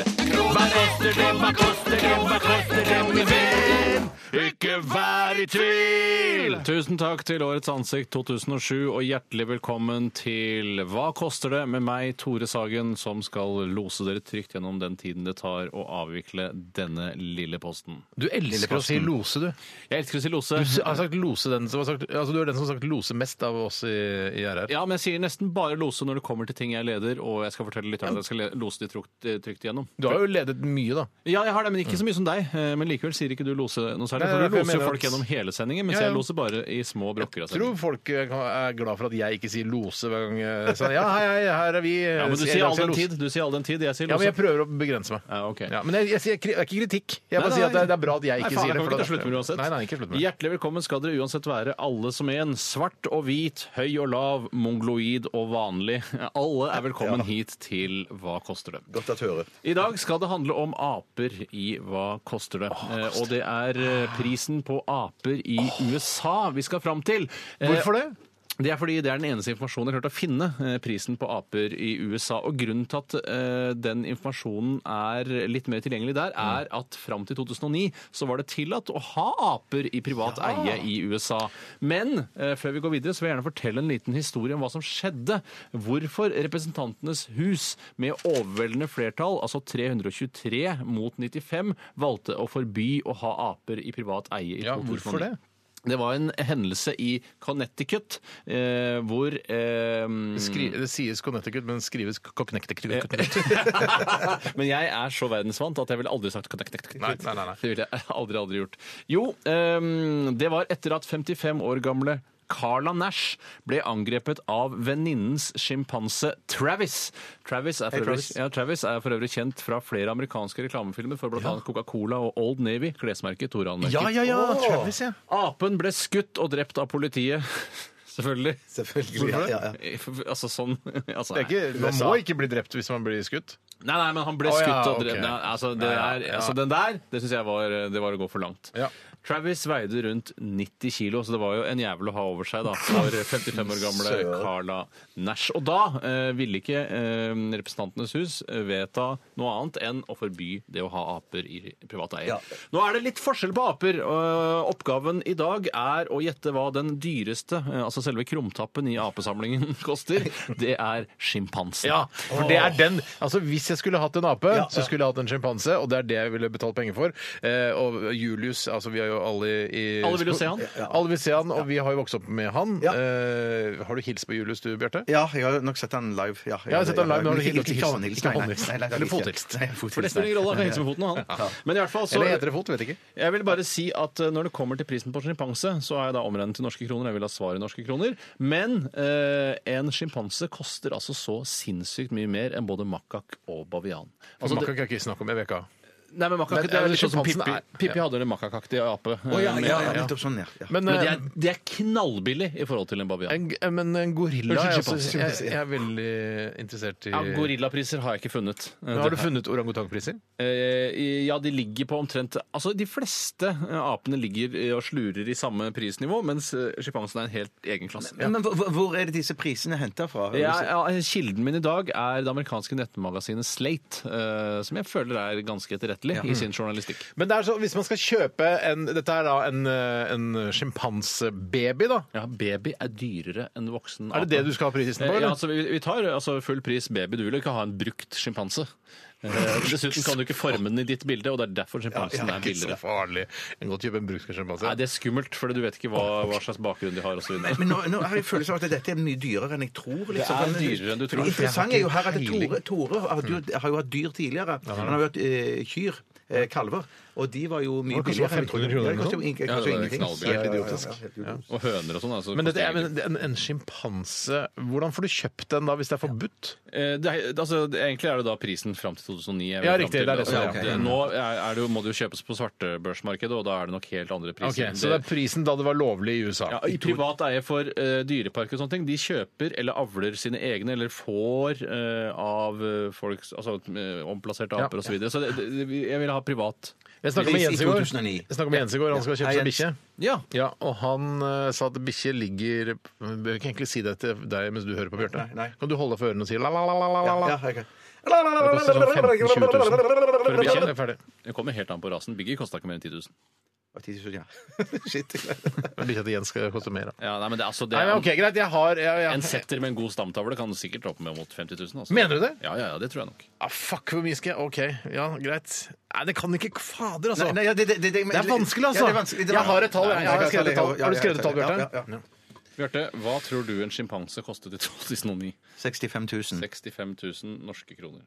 Hva koster det, hva koster det, hva koster det, min venn? Ikke vær i tvil! Tusen takk til Årets ansikt 2007, og hjertelig velkommen til Hva koster det? med meg, Tore Sagen, som skal lose dere trygt gjennom den tiden det tar å avvikle denne lille posten. Du elsker å si lose, du. Jeg elsker å si lose. Du har sagt lose den som har sagt, altså du er den som har sagt lose mest av oss i, i RR. Ja, men jeg sier nesten bare lose når det kommer til ting jeg leder, og jeg skal fortelle lytterne at jeg skal le- lose de trygt, trygt gjennom. Du har jo ledet mye, da. Ja, jeg har det, men ikke så mye som deg. eh, Men likevel sier ikke du lose noe særlig. Nei, for For du jeg loser jo mener folk at- gjennom hele sendingen, mens Ja, ja. jeg loser bare i små brokker av Tror sendingen. folk eh, kan- er glad for at jeg ikke sier lose hver gang jeg sier ja, hei, hei, her er vi. eh, Ja, men du Jeg sier all sier den lose. tid, du sier all den tid, jeg sier Ja, men lose. jeg prøver å begrense meg. Ja, ok. Ja, men jeg, jeg, sier- det er ikke kritikk. Jeg Nei, bare nei, sier at det er, det er bra at jeg ikke Nei, sier det. faen, jeg kan for ikke ta da- slutt med det uansett. Nei, nei, ikke slutt med det. Hjertelig velkommen skal dere uansett være alle som en. Svart og hvit, høy og lav, mongoloid og vanlig. Alle er velkommen hit til Hva koster det? Godt at høre. I dag skal det handle om aper i Hva koster det? Eh, Og det er eh, prisen på aper i USA vi skal fram til. Eh, Hvorfor det? det er fordi det er den eneste informasjonen jeg har klart å finne, eh, prisen på aper i USA. Og grunnen til at eh, den informasjonen er litt mer tilgjengelig der, er at fram til 2009 så var det tillatt å ha aper i privat eie i USA. Men eh, før vi går videre, så vil jeg gjerne fortelle en liten historie om hva som skjedde. Hvorfor Representantenes hus med overveldende flertall, altså 323 mot 95, valgte å forby å ha aper i privat eie i Ja, 2009. hvorfor det? Det var en hendelse i Connecticut eh, hvor eh, Skri, det sies Connecticut, men skrives Connecticut. Men jeg er så verdensvant at jeg ville aldri sagt Connecticut. Nei, nei, nei, nei. Det ville jeg aldri, aldri gjort. Jo, ehm, det var etter at 55 år gamle Carla Nash ble angrepet av venninnens sjimpanse Travis. Travis er, for øvrig, Ja, Travis er for øvrig kjent fra flere amerikanske reklamefilmer for bl.a. Coca-Cola og Old Navy, klesmerket Tore anmerker. Ja, ja, ja! Travis, ja. Apen ble skutt og drept av politiet. Selvfølgelig. Selvfølgelig. Ja, ja, ja. Altså sånn altså, Det er ikke, man må ikke bli drept hvis man blir skutt. Nei, nei, men han ble Å, ja, skutt og ok. drept. Nei, altså, det Nei, ja, er, ja. altså, den der, det syns jeg var, det var å gå for langt. Ja. Travis veide rundt 90 kilo, så det var jo en jævel å ha over seg da, for 55 år gamle Carla Nash. Og da eh, ville ikke eh, Representantenes hus vedta noe annet enn å forby det å ha aper i privat eie. Nå er det litt forskjell på aper. og oppgaven i dag er å gjette hva den dyreste, eh, altså selve krumtappen i apesamlingen, koster. Det er sjimpansen. Ja, for det er den Altså Hvis jeg skulle hatt en ape, så skulle jeg hatt en sjimpanse. Og det er det jeg ville betalt penger for. Eh, og Julius altså Vi er jo alle i Alle vil jo se han. Alle vil se han, og vi har jo vokst opp med han. Eh, har du hilst på Julius, du, Bjarte? Ja, jeg har nok sett han live. Ja, Jeg har sett han live, men har du Ikke- hilst- ikke- ikke håndhils, nei, nei, nei, nei, Eller ikke. fothilst. Nei, fothilst, For det spiller ingen rolle, han kan hilse med foten, han. Men i hvert fall så Eller heter det fot? Vet ikke. Jeg vil bare si at eh, når det kommer til prisen på sjimpanse, så er jeg da omregnet til norske kroner. Jeg vil ha svar i norske kroner. Men eh, en sjimpanse koster altså så sinnssykt mye mer enn både makak og bavian. Altså, Altså, det, kan jeg ikke snakke om i veka. nei, men makak Men, det er eh, litt sånn som sjimpansen Pippi. er- Pippi hadde en makakaktig ape. eh, Ja, med- ja, ja, nettopp sånn, ja. ja. Men, Men det eh, er, det er knallbillig i forhold til en bavian. en, eh, men en gorilla Unnskyld, jeg, altså, sjimpanse. jeg, jeg er veldig interessert i Ja, gorillapriser har jeg ikke funnet. Men Har du funnet orangutangpriser? Eh, Ja, de ligger på omtrent Altså, de fleste eh, apene ligger eh, og slurer i samme prisnivå, mens eh, sjimpansen er en helt egen klasse. Men hvor, hvor er det disse prisene henta fra? Ja, ja, kilden min i dag er det amerikanske nettmagasinet Slate, eh, som jeg føler er ganske etterrettelig i sin journalistikk. Men det er så, hvis man skal kjøpe en Dette er da en, eh, en sjimpansebaby, da. Ja, Baby er dyrere enn voksen. Er det det du skal ha prisen på? Ja, eller? altså, vi, vi tar altså, full pris baby. Du vil jo ikke ha en brukt sjimpanse. Eh, Dessuten kan du ikke forme den i ditt bilde, og det er derfor sjimpansen sånn er ikke så billigere. farlig. En godt kjøpe en brukssjimpanse. Nei, Det er skummelt, for du vet ikke hva, hva slags bakgrunn de har. Og så videre. Men nå, nå har jeg følelsen av at dette er mye dyrere enn jeg tror. Liksom. Det er dyrere enn du tror. Det interessante er jo her at Peiling. Tore, Tore har, jo, har jo hatt dyr tidligere. Han har jo hatt eh, kyr. eh, Kalver. Og de var jo mye Det kanskje var 1500 kroner Ja, det eller koster jo ing- Ja, koster jo det er ingenting. knallbillig. Ja, ja, ja, ja. Og høner og sånn. Altså, men dette, koster er- ingenting. men en, en sjimpanse Hvordan får du kjøpt den da hvis det er forbudt? Eh, Det er, altså, det, egentlig er det da prisen fram til 2009. jeg Ja, vil fram riktig, til. det er det som er, Altså, ja. det- Nå er, er det, jo- må det jo kjøpes på svartebørsmarkedet, og da er det nok helt andre Ok, priser. Så det er prisen da det var lovlig i USA. ja, I privat eie for eh, dyreparker og sånne ting, de kjøper eller avler sine egne, eller får eh, av eh, folk altså, eh, omplasserte Ja. aper og osv. Så, videre. så det, det, vi- jeg vil ha privat. Jeg snakka med Pris i Jens i går. 2009. Jeg snakket med Jens i går, Han skal kjøpe Hei, seg Jens. bikkje. Ja. Ja, og han eh, sa at bikkje ligger Jeg Bør ikke egentlig si det til deg mens du hører på, Bjarte. Nei, nei. Kan du holde deg for ørene og si la, la, la, la, la, la? Ja, ok. Det koster sånn 15 000-20 000. For bikkje, det er ferdig. Det kommer helt an på rasen. Biggie kosta ikke mer enn 10 000. Og 10 000, ja. Shit. Men Bikkja til Jens skal koste mer. Da. Ja, nei, men det, er altså, det Nei, er, men ok, Greit, jeg har jeg, jeg, En setter med en god stamtavle kan sikkert opp med mot 50 000. Altså. Mener du det? Ja, ja, ja, det tror jeg nok. Ah, fuck, hvor mye skal jeg OK, ja, greit. Nei, det kan ikke Fader, altså. Nei, nei, ja, det, det, det, det, Det er vanskelig, altså. Ja, det er vanskelig, det er Jeg har et tall. vanskelig. Jeg har skrevet et tall. Ja, ja, Har du skrevet et ja, tall, ja, Bjarte? ja, ja. Bjarte, hva tror du en sjimpanse kostet i 2009? 65 000. 65 000 norske kroner.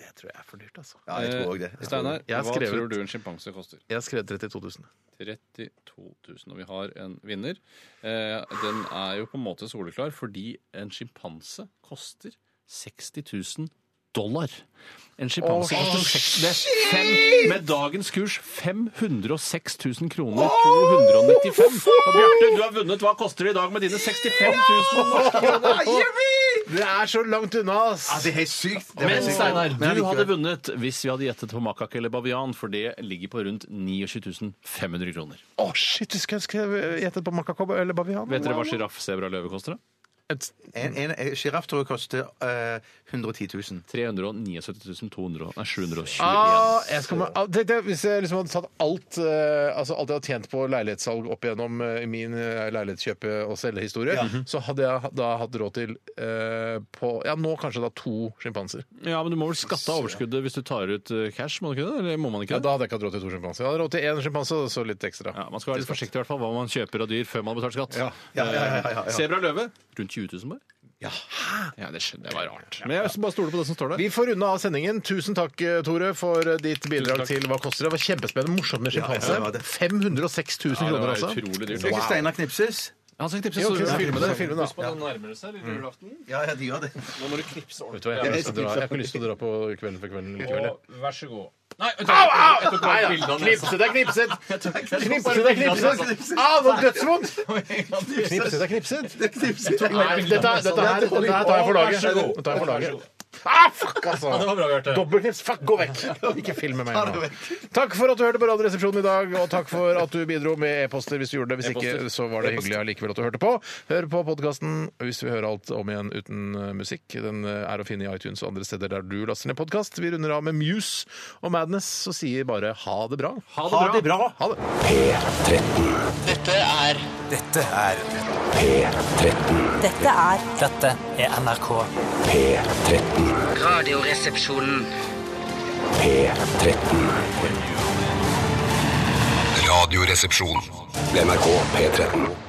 Eh, Det tror jeg er for dyrt, altså. Ja, jeg tror også det. Jeg tror Steinar, Jeg har hva skrevet- tror du en sjimpanse koster? Jeg har skrevet 32 000. 32 000. Og vi har en vinner. Eh, den er jo på en måte soleklar, fordi en sjimpanse koster 60 000 dollar. En sjimpanse koster seks- det er fem, med dagens kurs 506 000 kroner. 295. Og Bjarte, du har vunnet. Hva koster det i dag med dine 65 000 norske kroner? Det er så langt unna, ass! Ja, det er helt sykt. Det er Men helt sykt. Steinar, Men du hadde allikevel. vunnet hvis vi hadde gjettet på makak eller bavian, for det ligger på rundt 29 500 kroner. Å, shit! Du skulle ønske jeg gjettet på Macacob eller Bavian. Vet dere hva sjiraff, sebra og løve koster? da? et, En, en, en sjiraff tror jeg koster eh, 110 000. 379 200 Nei, 720. ah, jeg skal, ah, tenk deg Hvis jeg liksom hadde tatt alt eh, altså alt jeg har tjent på leilighetssalg opp igjennom eh, min eh, leilighetskjøpe- og selgehistorie, så hadde jeg ha- da hatt råd til eh, på Ja, nå kanskje da to sjimpanser. Ja, men du må vel skatte av overskuddet hvis du tar ut eh, cash, må du ikke det? Eller må man ikke Ja, det? da hadde jeg ikke hatt råd til to sjimpanser. Jeg hadde råd til én sjimpanse og så litt ekstra. Ja, man skal være litt forsiktig i hvert fall hva man kjøper av dyr før man har betalt skatt. Ja. Ja, ja, ja, ja, ja. Sebra og løve rundt 20 000 bare. Ja, det skjønner jeg var rart. Men jeg bare stoler på det som står der. Vi får runde av sendingen. Tusen takk, eh, Tore, for ditt bidrag til Hva koster det? Det var kjempespennende, morsomt med sjimpanse. Ja, det var det. 506 000 Ja, det kroner, var altså. utrolig dyrt. Skal ikke Steinar knipses? Han skal Jo, tipse, så ok, du må så filme det. filme det. Husk på at han nærmer seg lille julaften. Ja, ja, de gjør det. Nå må du knipse Vet du hva, jeg har ikke lyst til å dra- jeg har ikke lyst til å dra på Kvelden for kvelden likevel. jeg. Og vær så god. Nei, vet du hva, jeg tok bare et bilde av nesa. Knipset er knipset! Knipset er knipset! Au, det var dødsvondt! Knipset er knipset. Nei, dette, er- dette, her, dette her tar jeg for laget. Dette tar jeg for laget. Ah, fuck, altså! Det var bra, Bjarte. Dobbeltknips, fuck, gå vekk! Ikke film med meg nå. Takk for at du hørte på Radioresepsjonen i dag, og takk for at du bidro med e-poster hvis du gjorde det. Hvis E-poster. ikke, så var det hyggelig allikevel at du hørte på. Hør på podkasten hvis vi hører alt om igjen uten eh, musikk. Den eh, er å finne i iTunes og andre steder der du laster ned podkast. Vi runder av med Muse og Madness, og sier bare ha det bra. Ha det bra! Ha det. Dette er Dette er Dette er Dette er NRK. Radioresepsjonen. Radioresepsjon. NRK P13.